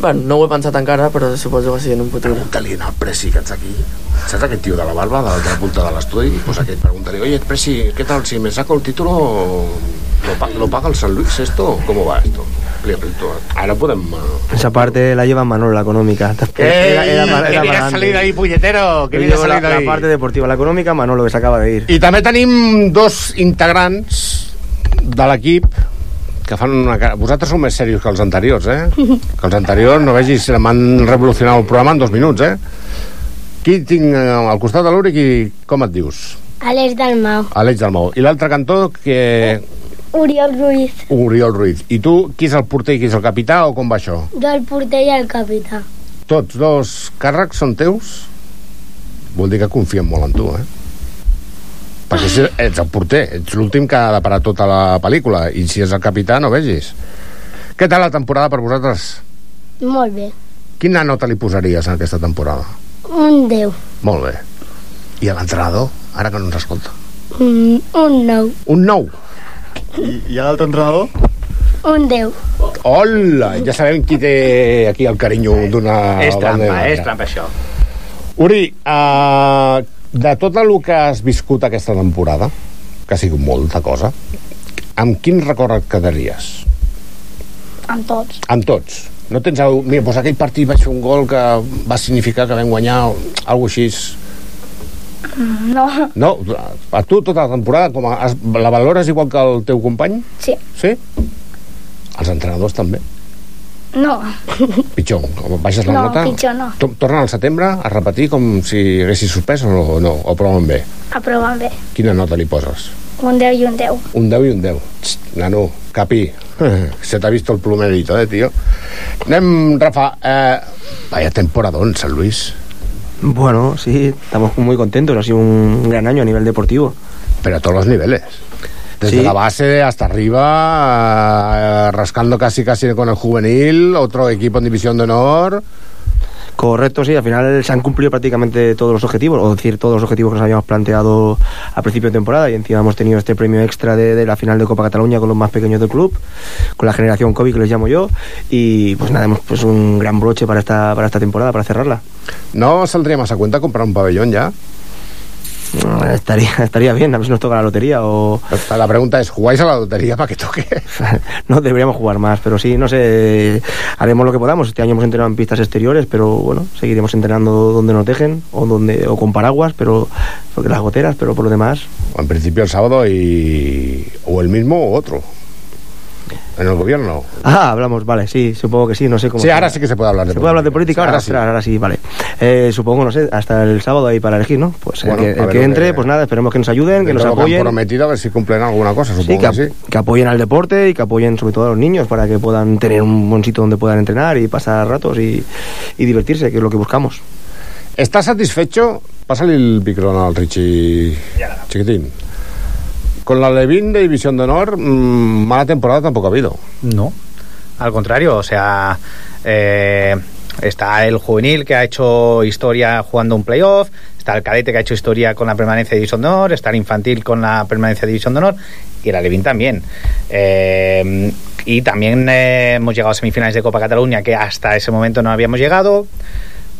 S17: Bueno, no ho he pensat encara, però suposo que sí en un futur.
S8: Pregunta-li al Presi que ets aquí. Saps aquest tio de la barba, de l'altra punta de l'estudi? Doncs pues aquest pregunta-li, oye, Presi, què tal, si me saco el títol lo, pa- lo paga el San Luis esto? ¿Cómo va esto? Li pregunto, ara podem... eh,
S16: Esa parte la lleva Manolo, la económica.
S8: que bien has salido ahí, puñetero! Que bien has salido ahí.
S16: deportiva, la económica, Manolo, que se acaba de ir.
S8: I també tenim dos integrants de l'equip que fan una cara... Vosaltres sou més serios que els anteriors, eh? Que els anteriors, no vegis, m'han revolucionat el programa en dos minuts, eh? Qui tinc eh, al costat de l'Uri, qui... com et dius?
S28: Aleix Dalmau.
S8: Aleix Dalmau. I l'altre cantó, que...
S28: Oriol Ruiz,
S8: Oriol Ruiz. I tu, qui és el porter i qui és el capità, o com va això?
S28: del porter i el capità.
S8: Tots dos càrrecs són teus? Vol dir que confien molt en tu, eh? Perquè si ets el porter, ets l'últim que ha de parar tota la pel·lícula, i si és el capità no vegis. Què tal la temporada per vosaltres?
S28: Molt bé.
S8: Quina nota li posaries en aquesta temporada?
S28: Un 10.
S8: Molt bé. I a l'entrenador, ara que no ens escolta.
S28: Mm, un 9.
S8: Un 9.
S10: I, i a l'altre entrenador?
S28: Un 10.
S8: Hola! Ja sabem qui té aquí el carinyo d'una...
S16: és trampa,
S8: banda i l'altra.
S16: és trampa això.
S8: Uri, uh, de tot el que has viscut aquesta temporada, que ha sigut molta cosa, amb quin record et quedaries?
S20: Amb tots.
S8: Amb tots. No tens... El... Mira, doncs aquell partit vaig fer un gol que va significar que vam guanyar o alguna així.
S20: Mm, No.
S8: No? A tu tota la temporada com a, has, la valores igual que el teu company?
S20: Sí.
S8: Sí? Els entrenadors també?
S20: No.
S8: Pitjor, baixes la
S20: no,
S8: nota?
S20: pitjor no.
S8: To- Torna al setembre a repetir com si haguessis suspès o no, o no, o proven bé.
S20: Aproven bé.
S8: Quina nota li poses?
S20: Un 10 i un 10.
S8: Un 10 i un 10.Xt, nano, capi, se t'ha vist el plomerito, eh, tio. Anem, Rafa. Eh, vaya temporadón, San Luis.
S16: Bueno, sí, estamos muy contentos. Ha sido un gran año a nivel deportivo.
S8: Pero a todos los niveles. Desde
S16: Sí.
S8: la base hasta arriba, eh, rascando casi casi con el juvenil, otro equipo en división de honor.
S16: Correcto, sí, al final se han cumplido prácticamente todos los objetivos, o decir, todos los objetivos que nos habíamos planteado a principio de temporada y encima hemos tenido este premio extra de, de la final de Copa Cataluña con los más pequeños del club, con la generación COVID que les llamo yo y pues nada, hemos pues un gran broche para esta, para esta temporada, para cerrarla.
S8: ¿No saldría más a cuenta comprar un pabellón ya?
S16: Ah, Estaría, estaría bien, a ver si nos toca la lotería o...
S8: La pregunta es, ¿jugáis a la lotería para que toque?
S16: no deberíamos jugar más, pero sí, no sé, haremos lo que podamos. Este año hemos entrenado en pistas exteriores, pero bueno, seguiremos entrenando donde nos dejen o donde o con paraguas, pero porque las goteras, pero por lo demás.
S8: En principio el sábado y... o el mismo o otro. En el gobierno.
S16: Ah, hablamos, vale, sí, supongo que sí, no sé cómo.
S8: Sí, ahora sí que se puede hablar de
S16: Se puede hablar de
S8: política.
S16: política ahora,
S8: Ahora sí.
S16: ostras, ahora sí, vale. Eh, supongo, no sé, hasta el sábado ahí para elegir, ¿no? Pues el
S8: Bueno,
S16: que-
S8: a
S16: el que,
S8: ver lo que-
S16: entre, pues nada, esperemos que nos ayuden, que
S8: Dentro
S16: nos
S8: de lo han
S16: apoyen.
S8: prometido a ver si cumplen alguna cosa,
S16: Sí,
S8: supongo
S16: que,
S8: que sí.
S16: ap- que apoyen al deporte y que apoyen sobre todo a los niños para que puedan tener un buen sitio donde puedan entrenar y pasar ratos y, y divertirse, que es lo que buscamos.
S8: ¿Estás satisfecho? Pásale el micro al Richie chiquitín. Con la Levin de División de Honor, mm, mala temporada tampoco ha habido.
S16: No. No. Al contrario, o sea, eh,
S21: Está el juvenil que ha hecho historia jugando un playoff, está el cadete que ha hecho historia con la permanencia de División de Honor, está el infantil con la permanencia de División de Honor y el Alevín también. Eh, y también eh, hemos llegado a semifinales de Copa Cataluña que hasta ese momento no habíamos llegado.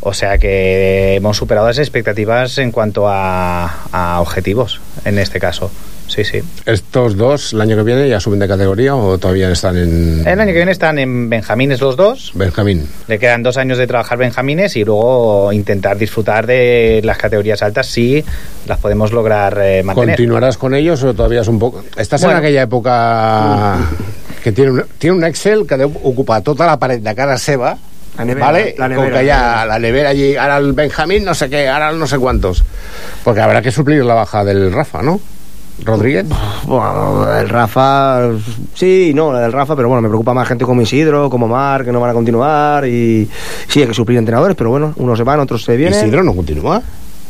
S21: O sea que hemos superado las expectativas en cuanto a, a objetivos, en este caso. Sí, sí.
S8: ¿Estos dos el año que viene ya suben de categoría o todavía están en
S21: El año que viene están en Benjamines los dos.
S8: Benjamín?
S21: Le quedan dos años de trabajar Benjamines y luego intentar disfrutar de las categorías altas si las podemos lograr eh, mantener.
S8: ¿Continuarás con ellos o todavía es un poco... Estàs bueno.
S21: Bueno.
S8: en aquella època que tiene un, tiene un Excel que deu ocupar tota la paret de cara seva la
S16: nevera,
S8: ¿vale?
S16: la
S8: com
S16: nevera.
S8: que hi ha la nevera allí, ara el Benjamín no sé què, ara el no sé cuántos. Porque habrá que suplir la baja del Rafa, ¿no? Rodríguez.
S16: Bueno, la del Rafa, sí, no, la del Rafa, pero bueno, me preocupa más gente como Isidro, como Mar, que no van a continuar y sí, hay que suplir entrenadores, pero bueno, unos se van, otros se vienen.
S8: ¿Isidro no continúa?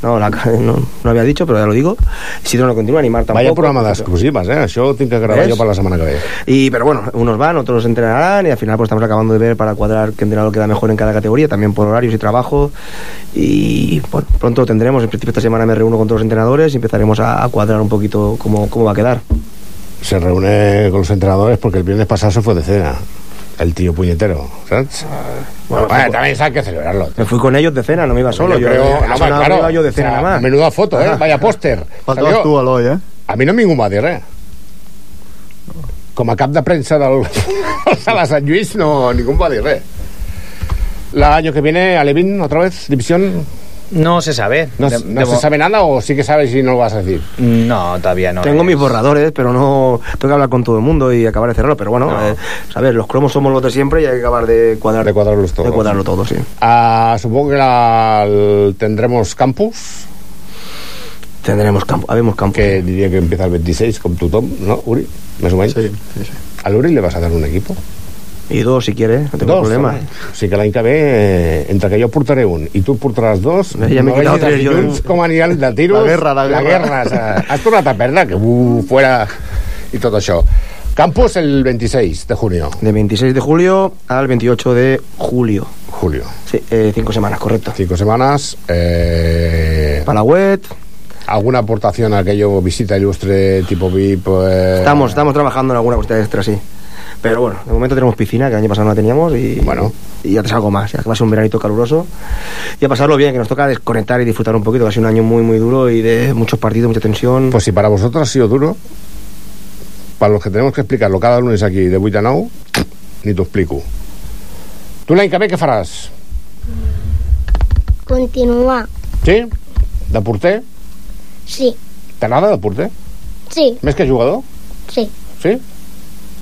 S16: No, la- no, no había dicho, pero ya lo digo. Isidro no continúa, ni Mar tampoco.
S8: Vaya programa d'exclusives, eh? Això ho tinc que gravar
S16: ¿Ves?
S8: jo per la setmana que ve.
S16: Y, pero bueno, unos van, otros entrenarán y al final pues estamos acabando de ver para cuadrar qué entrenador queda mejor en cada categoría, también por horarios y trabajo. Y bueno, pronto lo tendremos. En principio esta semana me reúno con todos los entrenadores y empezaremos a, a cuadrar un poquito cómo, cómo va a quedar.
S8: Se reúne con los entrenadores porque el viernes pasado se fue de cena. El tío puñetero,
S16: eh,
S8: ¿sabes? Bueno, vaya, también sabes que celebrarlo.
S16: Me fui con ellos de cena, no me iba solo.
S8: Yo creo-
S16: a la
S8: no,
S16: zona
S8: claro,
S16: arriba yo de
S8: o sea,
S16: cena nada más.
S8: menuda foto, ¿eh? Vaya póster.
S16: Faltabas
S8: Salió-
S16: tu,
S29: Eloi, eh?
S8: A mi no ningú m'ha dit res. Com a cap de premsa del de la Sant Lluís, no, ningú em va dir res. L'any que viene, Alevín, otra vez, división...
S21: No se sabe.
S8: No,
S21: De-
S8: no
S21: de
S8: se
S21: mo-
S8: sabe nada o sí que sabes y no lo vas a decir.
S21: No, todavía no.
S16: Tengo mis borradores, pero no tengo que hablar con todo el mundo y acabar de cerrarlo. Pero bueno, eh, a ver, los cromos somos los de siempre y hay que acabar de cuadrar. De
S8: cuadrarlos todos.
S16: De cuadrarlo todo, sí.
S8: Ah, supongo que la- el- tendremos campus.
S16: Tendremos campo, habemos campo.
S8: Que diría que empieza el 26, con tu Tom, ¿no, Uri? Más o menos. ¿Al Uri le vas a dar un equipo?
S16: Y dos, si quiere, no tengo
S8: Dos,
S16: problema.
S8: home. O sigui que l'any que ve, eh, entre que jo portaré un i tu portaràs dos,
S16: Ja m'he quedat
S8: vegis els
S16: tres jo.
S8: dilluns com aniran de tiros.
S16: La guerra, la guerra.
S8: guerra, o sea, has tornat a perdre, que uh, fuera i tot això. Campus el 26 de junio.
S16: De 26 de julio al 28 de julio.
S8: Julio.
S16: Sí, eh, cinco semanas, correcto.
S8: Cinco semanas. Eh...
S16: Para la web.
S8: ¿Alguna aportación a aquello visita ilustre tipo VIP? eh?
S16: Estamos, estamos trabajando en alguna cuestión extra, sí. Pero bueno, de momento tenemos piscina, que el año pasado no la teníamos, y, bueno. y ya te algo más, ya que va a ser un veranito caluroso. Y a pasarlo bien, que nos toca desconectar y disfrutar un poquito, que ha sido un año muy, muy duro y de muchos partidos, mucha tensión.
S8: Pues si para vosotros ha sido duro, para los que tenemos que explicarlo cada lunes aquí de 8 a 9, ni t'ho explico. Tu l'any que ve què faràs?
S30: Continuar.
S8: Sí? De porter?
S30: Sí,
S8: T'agrada de porter?
S30: sí,
S8: Més que jugador?
S30: sí.
S8: Sí?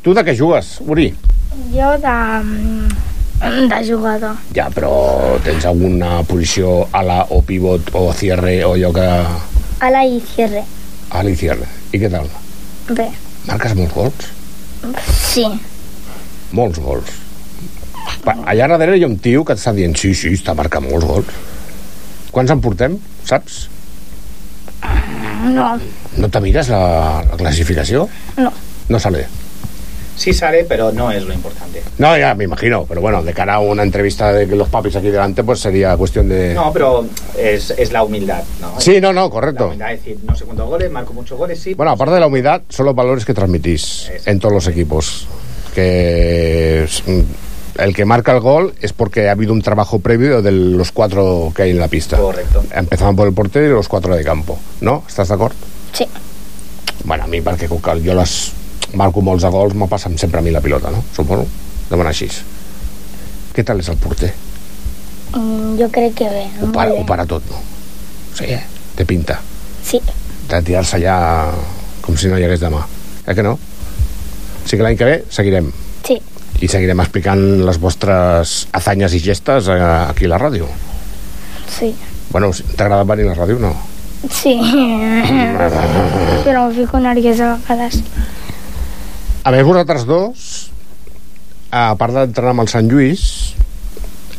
S8: Tu de què jugues, Uri?
S20: Jo de... mm, de jugador.
S8: Ja, però tens alguna posició ala o pivot o cierre o allò que...
S20: A la i cierre.
S8: Ala i cierre. I què tal?
S20: Bé,
S8: Marques molts gols?
S20: sí.
S8: Molts gols. Pa- Allà darrere hi ha un tio que et està dient sí, sí, està marcant molts gols. Quants en portem, saps?
S20: No,
S8: No te mires la, la clasificació?
S20: no.
S8: No sale.
S21: Sí sale, pero no es lo importante.
S8: No, ya me imagino, pero bueno, de cara a una entrevista de los papis aquí delante, pues sería cuestión de...
S21: No, pero es, es la humildad, ¿no?
S8: Sí, no, no, correcto.
S21: humildad, es decir, no sé cuántos goles, marco muchos goles, sí.
S8: Bueno, aparte de la humildad, son los valores que transmitís en todos los equipos. Que es- el que marca el gol es porque ha habido un trabajo previo de los cuatro que hay en la pista.
S21: Correcto.
S8: Empezaban por el portero y los cuatro de campo, ¿no? ¿Estàs d'acord?
S30: Sí.
S8: Bueno, a mi, perquè com que jo les marco molts de gols, me passa sempre a mi la pilota, no? Suposo. Demana així. Què tal és el porter?
S30: Mm, jo crec que bé.
S8: Ho para, ho para tot, no? Sí, eh? Té pinta.
S30: Sí,
S8: De tirar-se allà com si no hi hagués demà. Eh que no? Sí que l'any que ve seguirem.
S30: sí.
S8: I seguirem explicant les vostres azanyes i gestes eh, aquí a la ràdio.
S20: Sí.
S8: Bueno, t'ha agradat venir a la ràdio o no?
S20: Sí. Però em fico nerviosa a vegades.
S8: A més, vosaltres dos, a part d'entrenar amb el Sant Lluís,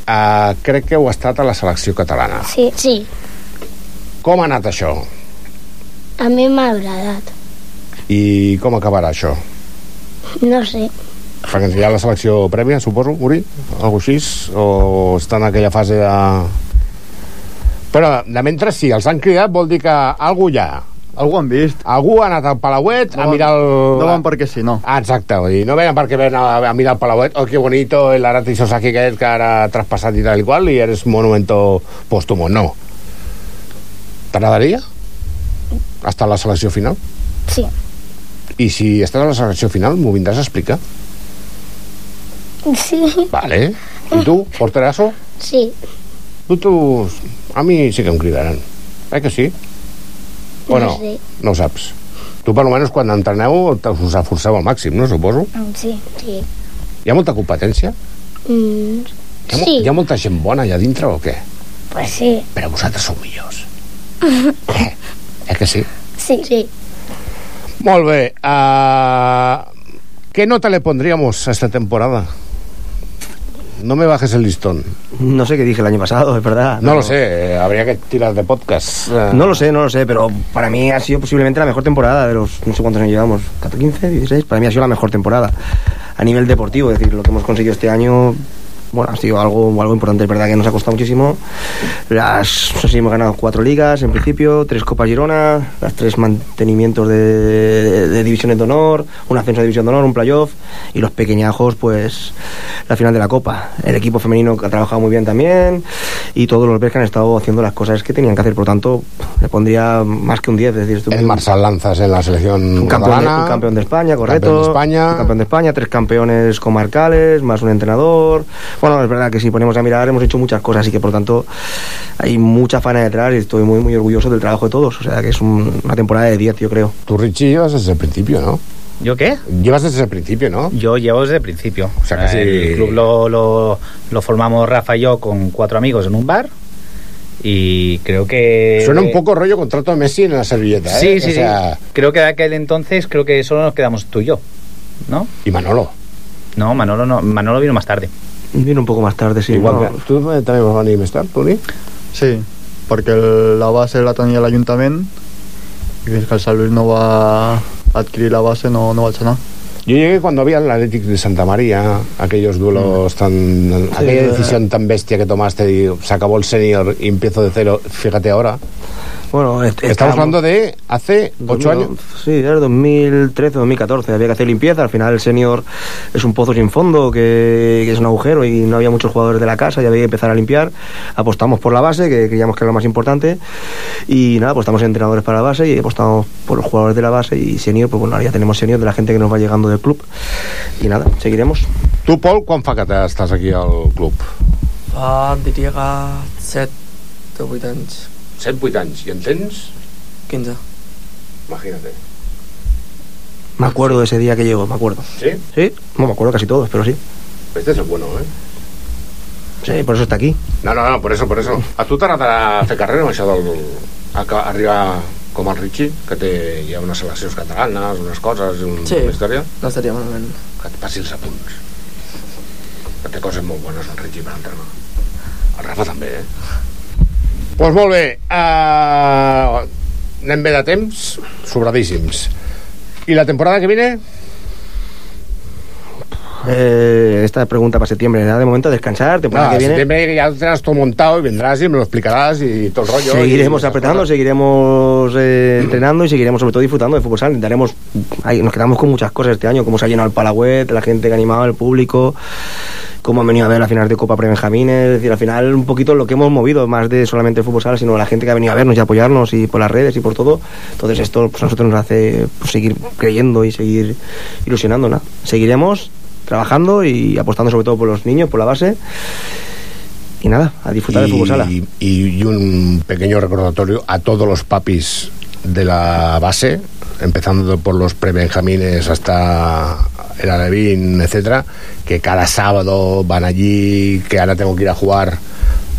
S8: eh, crec que heu estat a la selecció catalana.
S30: Sí. Sí,
S8: Com ha anat això?
S30: a mi m'ha agradat.
S8: I com acabarà això?
S30: No sé.
S8: Perquè ens dirà la selecció prèvia, suposo, Uri, algo així, o està en aquella fase de... Però, de mentre sí, els han cridat, vol dir que algú hi ha.
S10: Algú han vist.
S8: Algú ha anat al Palauet
S10: No
S8: a
S10: van-
S8: mirar el...
S10: no van perquè sí, no.
S8: Ah, exacte, vull dir, no venen perquè ven a, a mirar el Palauet, oh, que bonito, el Arati Sosaki que, que ara ha traspassat i tal i qual, i eres monumento póstumo, no. T'agradaria? Estar a la selecció final?
S28: Sí.
S8: I si estàs a la selecció final, m'ho vindràs a explicar?
S28: Sí.
S8: Vale. I tu, porterasso?
S28: Sí.
S8: Tu, tu... A mi sí que em cridaran. Eh que sí? O no?
S28: No sé.
S8: No ho saps. Tu, per almenys, quan entreneu, te- us esforceu al màxim, no? Suposo.
S28: Mm, Sí. Sí.
S8: Hi ha molta competència?
S28: Mm,
S8: Hi ha, mo-
S28: sí.
S8: hi ha molta gent bona allà dintre o què?
S28: Pues sí.
S8: Però vosaltres sou millors. Eh que sí?
S28: Sí. Sí.
S8: Molt bé. Uh, ¿Qué nota le pondríamos a esta temporada? No me bajes el listón.
S16: No sé qué dije el año pasado, es verdad.
S8: No lo sé, eh, habría que tirar de podcast. eh.
S16: No lo sé, no lo sé, pero para mí ha sido posiblemente la mejor temporada de los no sé cuántos años llevamos, 14, 15, 16, para mí ha sido la mejor temporada a nivel deportivo, es decir, lo que hemos conseguido este año bueno, ha sido algo, algo importante, es verdad que nos ha costado muchísimo. Las, no sé si hemos ganado cuatro ligas en principio, tres Copas Girona, las tres mantenimientos de, de- de divisiones de honor, un ascenso a división de honor, un playoff y los pequeñajos, pues la final de la Copa. El equipo femenino que ha trabajado muy bien también y todos los verdes que han estado haciendo las cosas que tenían que hacer, por lo tanto, le pondría más que un 10. Es decir, estuvo-
S8: El Marsal Lanzas en la selección
S16: un campeón, de,
S8: catalana.
S16: un campeón de España, correcto.
S8: campeón de
S16: Un campeón de España, tres campeones comarcales, más un entrenador. Bueno, es verdad que si ponemos a mirar hemos hecho muchas cosas y que por tanto hay mucha fana detrás y estoy muy muy orgulloso del trabajo de todos. O sea que es un- una temporada de 10, yo creo.
S8: Tú, Richie, llevas desde el principio, ¿no?
S9: ¿Yo qué?
S8: Llevas desde el principio, ¿no?
S9: Yo llevo desde el principio.
S8: sea, que sí.
S9: El club lo, lo, lo formamos Rafa y yo con cuatro amigos en un bar y creo que...
S8: Suena un poco rollo contrato de Messi en la servilleta,
S9: Sí,
S8: ¿eh?
S9: sí,
S8: o sea,
S9: sí. Creo que de aquel entonces creo que solo nos quedamos tú y yo, ¿no?
S8: ¿Y Manolo?
S9: No, Manolo no. Manolo vino más tarde.
S16: Vino un poco más tarde, sí.
S8: Igual
S9: no.
S8: que- ¿Tú eh, también vas a venir más tarde, Toni?
S10: Sí, perquè el, la base la tenia l'Ajuntament i fins que el Sant Lluís no va adquirir la base no, no vaig anar.
S8: Yo llegué cuando había el Athletic de Santa María, aquellos duelos tan. aquella
S10: eh.
S8: decisión tan bestia que tomaste, y se acabó el senior y empiezo de cero, fíjate ahora.
S16: Bueno,
S8: Estamos hablando de hace
S16: 2000,
S8: ocho años.
S16: Sí, era el 2013, 2014. Había que hacer limpieza. Al final el senior es un pozo sin fondo, que, que es un agujero y no había muchos jugadores de la casa y había que empezar a limpiar. Apostamos por la base, que creíamos que era lo más importante. Y nada, apostamos en entrenadores para la base y apostamos por los jugadores de la base y senior, pues bueno, ahora ya tenemos senior de la gente que nos va llegando del club. Y nada, seguiremos.
S8: ¿Tú, Paul, cuán facata estás aquí al club?
S17: Fa, diria que 7 o 8 anys.
S8: 7, 8 anys. I en tens?
S17: 15.
S8: Imagínate.
S16: Me acuerdo de ese día que llegó, me acuerdo.
S8: ¿Sí?
S16: Sí, no me acuerdo casi todos, pero sí.
S8: Este es el bueno, ¿eh?
S16: Sí, por eso está aquí.
S8: No, no, no, por eso, por eso. A tu t'agradarà fer carrera amb això del... a ca- arribar com el Richie, que té, hi ha unes seleccions catalanes, unes coses, un,
S17: Sí.
S8: una història,
S17: No estaria malament.
S8: que et passi els apunts. Que té coses molt bones el Richie per entrenar. El Rafa també, eh? Doncs pues molt bé. Uh, anem bé de temps, sobradíssims. I la temporada que viene?
S16: Eh, esta pregunta para septiembre, ¿verdad? De momento descansar, temporada
S8: Nada,
S16: que viene.
S8: septiembre ya tendrás todo montado y vendrás y me lo explicarás y todo el rollo. ¿eh?
S16: Seguiremos
S8: y- Mm.
S16: apretando, seguiremos eh, entrenando y seguiremos sobre todo disfrutando de fútbol sala. Intentaremos, ay, nos quedamos con muchas cosas este año, cómo se ha llenado el Palagüet, la gente que ha animado, el público, cómo han venido a ver la final de Copa Prebenjamines, es decir, al final un poquito lo que hemos movido, más de solamente el fútbol sala, sino la gente que ha venido a vernos y a apoyarnos y por las redes y por todo. Entonces esto pues, a nosotros nos hace pues, seguir creyendo y seguir ilusionándonos. Seguiremos trabajando y apostando sobre todo por los niños, por la base. Y nada, a disfrutar del
S8: Y-
S16: fútbol sala.
S8: Y, y un pequeño recordatorio a todos los papis de la base, empezando por los prebenjamines hasta el Alevín, etcétera, que cada sábado van allí, que ahora tengo que ir a jugar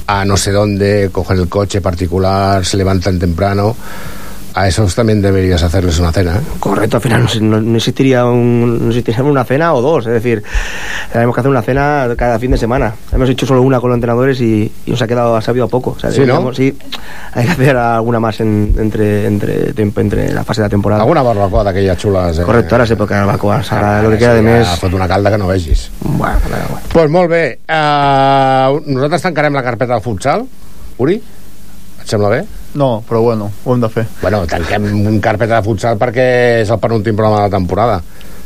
S8: a no sé dónde, cogen el coche particular, se levantan temprano. A esos también deberías hacerles una cena. ¿eh?
S16: Correcto, al final no, no existiría un, no existiría una cena o dos, es decir, tenemos que hacer una cena cada fin de semana. Hemos hecho solo una con los entrenadores y, y nos ha quedado, ha sabido a poco. O sea,
S8: Sí, ¿no?
S16: digamos, sí, hay que hacer alguna más en- entre, entre, tiempo- entre la fase de la temporada.
S8: Alguna barbacoa d'aquelles xules. Eh?
S16: Correcto, ahora es época de barbacoas, ahora lo que queda de
S8: Ja
S16: mes...
S8: Fot una calda que no vegis. Bueno, bueno. Pues molt bé. Uh, nosaltres tancarem la carpeta del futsal, Uri? Et sembla bé?
S10: No, però bueno, ho hem de fer.
S8: Bueno, tanquem un carpeta de futsal perquè és el penúltim programa de la temporada.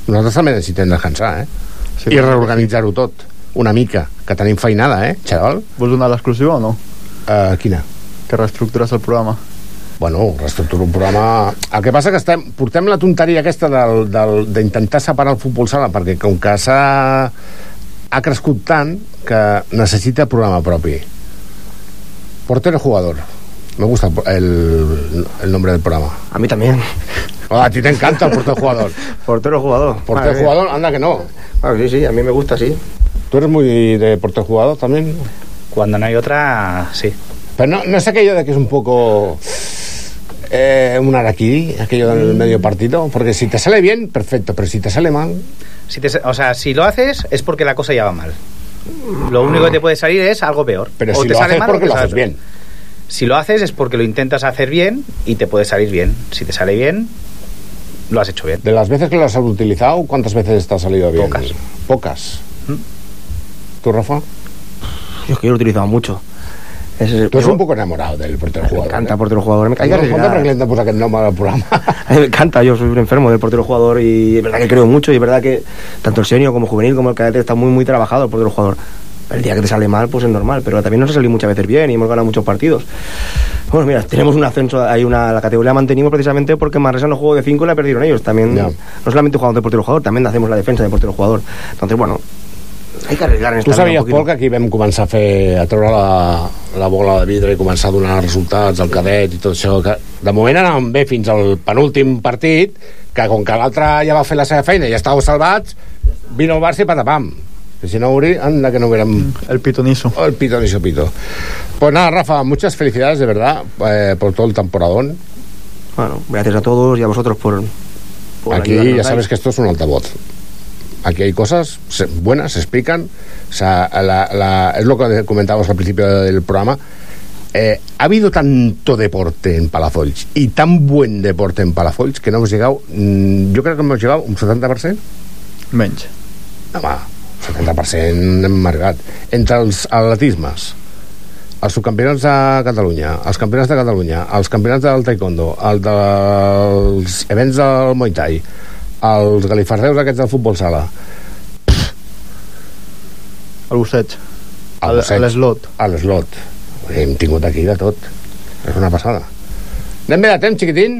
S8: Nosaltres també necessitem descansar, eh? Sí. I reorganitzar-ho tot, una mica, que tenim feinada, eh, Xerol?
S10: Vols donar l'exclusiva o no?
S8: Uh, quina?
S10: Que reestructures el programa.
S8: Bueno, reestructuro un programa... El que passa que estem, portem la tonteria aquesta del- del- d'intentar separar el futbol sala, perquè com que s'ha ha crescut tant que necessita programa propi. Portero jugador. Me gusta el, el nombre del programa.
S16: A mí también.
S8: a ti te encanta el portero jugador.
S16: portero jugador.
S8: Portero
S16: Madre mía.
S8: jugador, anda que no.
S16: Ah, sí, sí, a mí me gusta, sí.
S8: ¿Tú eres muy de portero jugador también?
S9: Cuando no hay otra, sí.
S8: Pero no, no es aquello de que es un poco eh, un araquiri, aquello del medio partido, porque si te sale bien, perfecto, pero si te sale mal...
S9: Si te- o sea, si lo haces es porque la cosa ya va mal. Lo único que te puede salir es algo peor.
S8: Pero
S9: O
S8: si
S9: te
S8: lo
S9: sale
S8: haces
S9: mal o
S8: porque
S9: te
S8: lo
S9: sale
S8: haces
S9: peor.
S8: bien.
S9: Si lo haces es porque lo intentas hacer bien y te puede salir bien. Si te sale bien, lo has hecho bien.
S8: De las veces que lo has utilizado, ¿cuántas veces te ha salido bien? Pocas. Pocas. ¿Tú, Rafa?
S16: Yo es que yo lo he utilizado mucho. És,
S8: Tú eres un poco enamorado del portero jugador. ¿eh? Me
S16: encanta portero jugador. Me, hay que
S8: ¿Cuánto
S16: arriesgar.
S8: que le puse aquel nombre al programa?
S16: A mí me encanta, yo soy un enfermo del portero jugador y es verdad que creo mucho y es verdad que tanto el senior como el juvenil como el cadete está muy muy trabajado el portero jugador. El día que te sale mal, pues es normal, pero también nos ha salido muchas veces bien y hemos ganado muchos partidos. Bueno, mira, tenemos un ascenso, hay una, la categoría la mantenimos precisamente porque Manresa no jugó de 5 y la perdieron ellos. También, no solamente jugamos de portero jugador, también hacemos la defensa de portero jugador. Entonces, bueno, hay que arriesgar en esta
S8: Tu
S16: vida un
S8: sabies,
S16: poquito.
S8: Pol, que aquí vam començar a fer a treure la, la bola de vidre i començar a donar resultats al cadet i tot això que de moment anàvem bé fins al penúltim partit que com que l'altre ja va fer la seva feina i ja estàveu salvats vino el Barça i patapam que si no Uri, anda que no hubiéramos
S10: Mm, el pitonizo
S8: el pitonizo pito pues nada Rafa, muchas felicidades de verdad eh, por todo el temporadón
S16: bueno, gracias a todos y a vosotros por, por
S8: Aquí
S16: ayudarnos
S8: ya
S16: ahí.
S8: sabes que esto es un altavoz. Aquí hay cosas se- buenas, se explican. O sea, la- la- es lo que comentábamos al principio del programa. Eh, ha habido tanto deporte en Palafolls y tan buen deporte en Palafolls que no hemos llegado. mm, yo creo que hemos llegado un 70%.
S10: Menys.
S8: Home, 70% hem marcat. Entre els atletismes, els subcampionats de Catalunya, els campionats de Catalunya, els campionats del taekwondo, el dels events del Muay Thai, els galifardeus aquests del futbol sala,
S10: El busseig.
S8: el busseig, a l'eslot. A l'eslot. Hem tingut aquí de tot. És una passada. Anem bé de temps, xiquitín?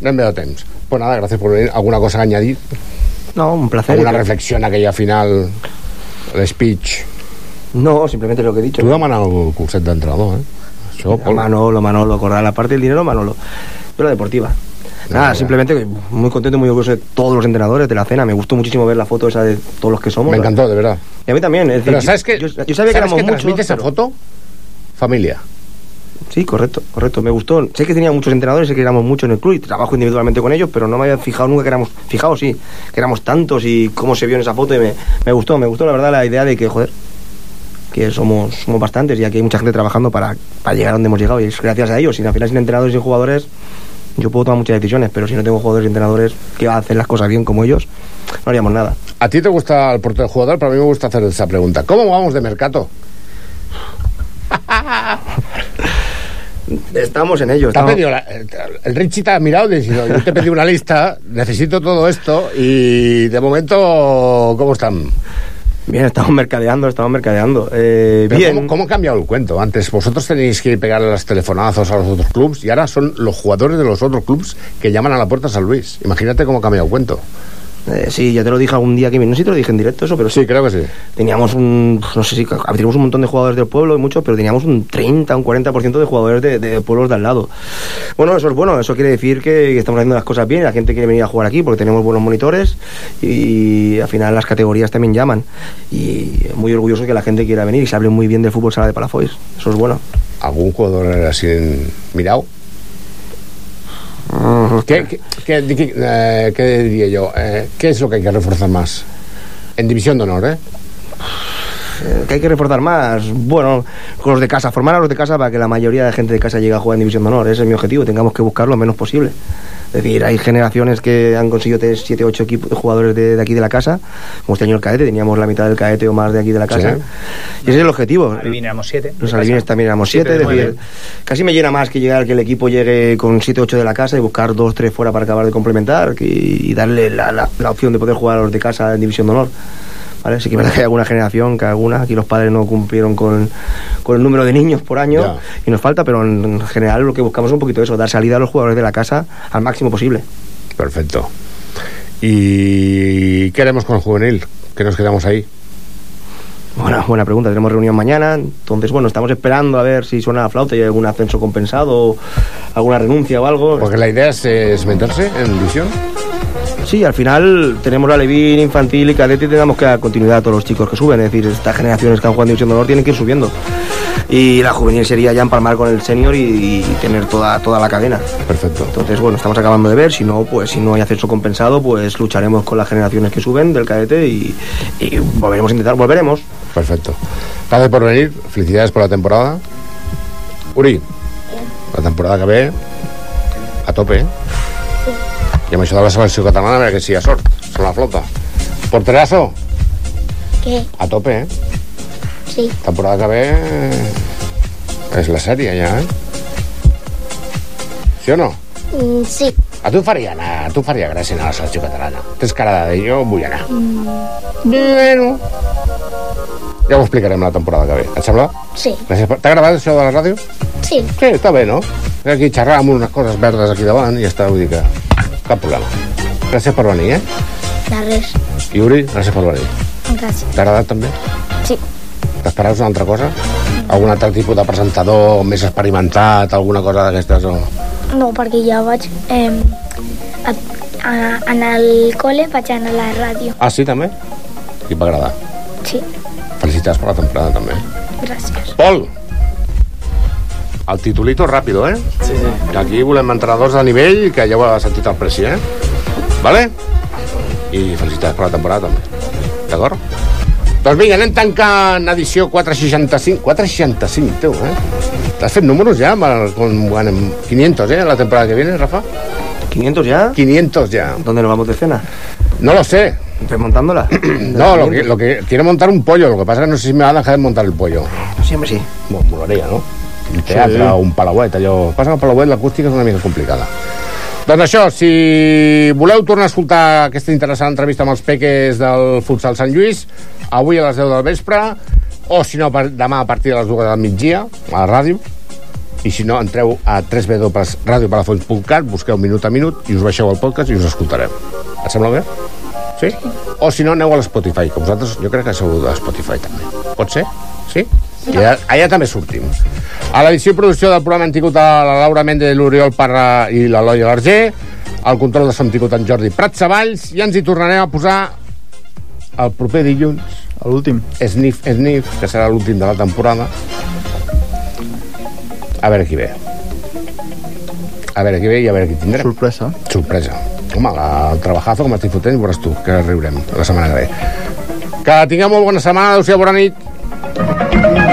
S8: Anem bé de temps. Pues nada, gracias por venir. ¿Alguna cosa a añadir?
S16: No, un placer.
S8: ¿Alguna reflexión aquella final? El speech?
S16: No, simplemente lo que he dicho.
S8: Tu demana el curset d'entrenador, eh? Això,
S16: A Manolo, Manolo, Corral, aparte del dinero, Manolo. Yo la deportiva. Nada, simplemente que muy contento, muy orgulloso de todos los entrenadores de la cena. Me gustó muchísimo ver la foto esa de todos los que somos.
S8: Me encantó, de verdad.
S16: Y a mí también. ¿eh? es decir,
S8: Pero ¿sabes qué?
S16: Yo, yo sabía que
S8: ¿Sabes
S16: éramos
S8: qué
S16: muchos.
S8: transmite esa foto? Familia.
S16: Sí, correcto, correcto. Me gustó. Sé que tenía muchos entrenadores, sé que éramos muchos en el club y trabajo individualmente con ellos, pero no me había fijado nunca que éramos, fijado sí, que éramos tantos y cómo se vio en esa foto y me, me gustó, me gustó la verdad la idea de que, joder, que somos, somos bastantes y aquí hay mucha gente trabajando para, para llegar a donde hemos llegado y es gracias a ellos. Sin al final, sin entrenadores y jugadores, yo puedo tomar muchas decisiones, pero si no tengo jugadores y entrenadores que hacen las cosas bien como ellos, no haríamos nada.
S8: A ti te gusta el portero jugador, pero a mí me gusta hacer esa pregunta. ¿Cómo vamos de mercado?
S16: Estamos en ello.
S8: Te ha
S16: estamos-
S8: pedido la-
S26: eh,
S8: el Richie te ha mirado y te ha dicho, yo te pedí una lista, necesito todo esto y de momento, ¿cómo están?
S16: Bien, estamos mercadeando, estamos mercadeando. Eh,
S8: Pero
S16: bien.
S8: ¿cómo, cómo ha cambiado el cuento? Antes vosotros tenéis que ir pegarle las telefonazos a los otros clubs y ahora son los jugadores de los otros clubs que llaman a la puerta a San Luis. Imagínate cómo ha cambiado el cuento.
S16: Eh, sí, ya te lo dije algún día, Kevin. No sé si te lo dije en directo eso, pero sí.
S8: creo que sí.
S16: Teníamos un. No sé si. Teníamos un montón de jugadores del pueblo y muchos, pero teníamos un 30, un 40% de jugadores de, de pueblos de al lado. Bueno, eso es bueno. Eso quiere decir que, que estamos haciendo las cosas bien. La gente quiere venir a jugar aquí porque tenemos buenos monitores y al final las categorías también llaman. Y muy orgulloso que la gente quiera venir y se hable muy bien del fútbol sala de Palafois. Eso es bueno.
S8: ¿Algún jugador era así en- mirado? ¿Qué, qué, qué- qué- eh, qué diría yo? Eh, ¿Qué es lo que hay que reforzar más? En división de honor, ¿eh?
S16: Eh, que hay que reforzar más. Bueno, con los de casa, formar a los de casa para que la mayoría de gente de casa llegue a jugar en División de Honor. Ese es mi objetivo, tengamos que buscar lo menos posible. Es decir, hay generaciones que han conseguido tener 7, 8 jugadores de, de aquí de la casa. Como este año el cadete, teníamos la mitad del cadete o más de aquí de la casa.
S9: Sí.
S16: Y ese es el objetivo.
S9: Adivinamos siete.
S16: Los alevines también éramos
S9: Siete
S16: siete,
S9: de
S16: es decir,
S9: nueve.
S16: casi me llena más que llegar que el equipo llegue con 7 8 de la casa y buscar 2 3 fuera para acabar de complementar que- y darle la, la- la opción de poder jugar a los de casa en división de honor. ¿Vale? Sí que es verdad que hay alguna generación que algunas aquí los padres no cumplieron con, con el número de niños por año y nos falta, pero en, en general lo que buscamos es un poquito eso, dar salida a los jugadores de la casa al máximo posible.
S8: Perfecto. ¿Y qué haremos con el juvenil? Que nos quedamos ahí.
S16: Bueno, buena pregunta. Tenemos reunión mañana, entonces bueno, estamos esperando a ver si suena la flauta y hay algún ascenso compensado, o alguna renuncia o algo.
S8: Porque la idea es, eh, es meterse en división.
S16: Sí, al final tenemos la Levín, infantil y cadete y tenemos que dar continuidad a todos los chicos que suben. Es decir, estas generaciones que han jugado en División de Honor tienen que ir subiendo. Y la juvenil sería ya empalmar con el senior y, y tener toda, toda la cadena.
S8: Perfecto.
S16: Entonces, bueno, estamos acabando de ver. Si no, pues si no hay acceso compensado, pues lucharemos con las generaciones que suben del cadete y, y volveremos a intentar, volveremos.
S8: Perfecto. Gracias por venir. Felicidades por la temporada. Uri, la temporada que ve, a tope. ¿eh? I amb això de la selecció catalana, a veure que sigui a sort. Som la flota. Porterazo,
S28: ¿Qué?
S8: a tope, eh?
S28: Sí.
S8: Temporada que ve eh, és la sèrie, ja, eh? Sí o no?
S28: Mm, sí.
S8: A tu et faria anar, a tu et faria gràcia anar a la selecció catalana. Tens cara de dir, jo vull anar.
S28: Bueno.
S8: Ja ho explicarem la temporada que ve. Et sembla?
S28: Sí.
S8: Gràcies per... T'ha agradat això de la ràdio?
S28: Sí.
S8: Sí, està bé, no? Aquí xerrar amb unes coses verdes aquí davant i ja està, vull dir que cap problema. Gràcies per venir, eh?
S28: La res.
S8: I Uri, gràcies per venir.
S28: Gràcies.
S8: T'ha agradat també?
S28: Sí.
S8: T'esperaves una altra cosa? Algun altre tipus de presentador més experimentat, alguna cosa d'aquestes? O...
S28: No, perquè ja vaig... Eh, a, a, en el col·le vaig anar a la ràdio.
S8: Ah, sí, també? I et va agradar.
S28: Sí,
S8: Felicitats per la temporada, també.
S28: gràcies.
S8: Pol! El titulito ràpido, eh? Sí, sí. Que aquí volem entrenadors de nivell, que ja ho ha sentit el Preci, eh? Vale? I felicitats per la temporada, també. D'acord? Doncs vinga, anem tancant edició 465. 465, teu, eh? T'has fet números ja? amb el- Com, bueno, 500, eh? La temporada que viene, Rafa?
S16: ¿500 ya?
S8: 500 ya.
S16: ¿Dónde nos vamos de cena?
S8: No lo sé.
S16: ¿Remontándola?
S8: no, lo que, lo que quiero montar un pollo. Lo que pasa es que no sé si me van a dejar montar el pollo.
S16: Siempre sí.
S8: Bueno, molaria, no? Un teatre,
S16: Sí.
S8: sí. un palauet, allò... Passa que el palauet l'acústica és una mica complicada. Doncs això, si voleu tornar a escoltar aquesta interessant entrevista amb els peques del futsal Sant Lluís, avui a les 10 del vespre, o si no, per, demà a partir de les 2 del migdia, a la ràdio, i si no, entreu a www.radiopalafolls.cat, busqueu minut a minut i us baixeu el podcast i us escoltarem. Et sembla bé? Sí? O si no, aneu a l'Spotify, que vosaltres jo crec que sou de Spotify també. Pot ser? Sí? I allà, allà també sortim. A l'edició i producció del programa hem tingut a la Laura Méndez, l'Oriol Parra i l'Eloi Alarger, al control de som tingut en Jordi Prats Savalls, i ens hi tornarem a posar el proper dilluns.
S10: L'últim.
S8: Sniff, Sniff, que serà l'últim de la temporada. A veure qui ve. A veure qui ve i a veure qui tindrem.
S10: Sorpresa.
S8: Sorpresa. Home, la, el trabajazo com estic fotent, veuràs tu, que riurem la setmana que ve. Que tingueu molt bona setmana, adeu-siau, bona nit.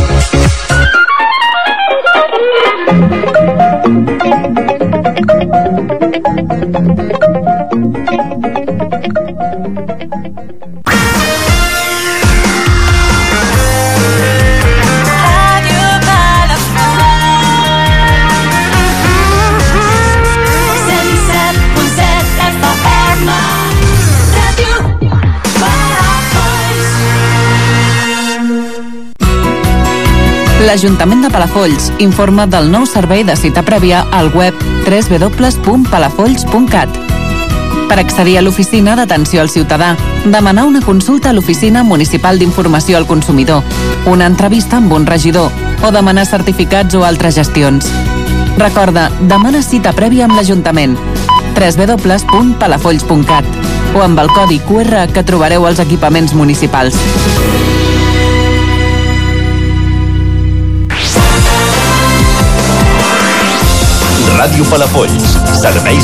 S24: Thank you.
S1: L'Ajuntament de Palafolls informa del nou servei de cita prèvia al web www.palafolls.cat. Per accedir a l'oficina d'atenció al ciutadà, demanar una consulta a l'Oficina Municipal d'Informació al Consumidor, una entrevista amb un regidor o demanar certificats o altres gestions. Recorda, demana cita prèvia amb l'Ajuntament www.palafolls.cat o amb el codi QR que trobareu als equipaments municipals.
S14: Ràdio Palafolls. Serveis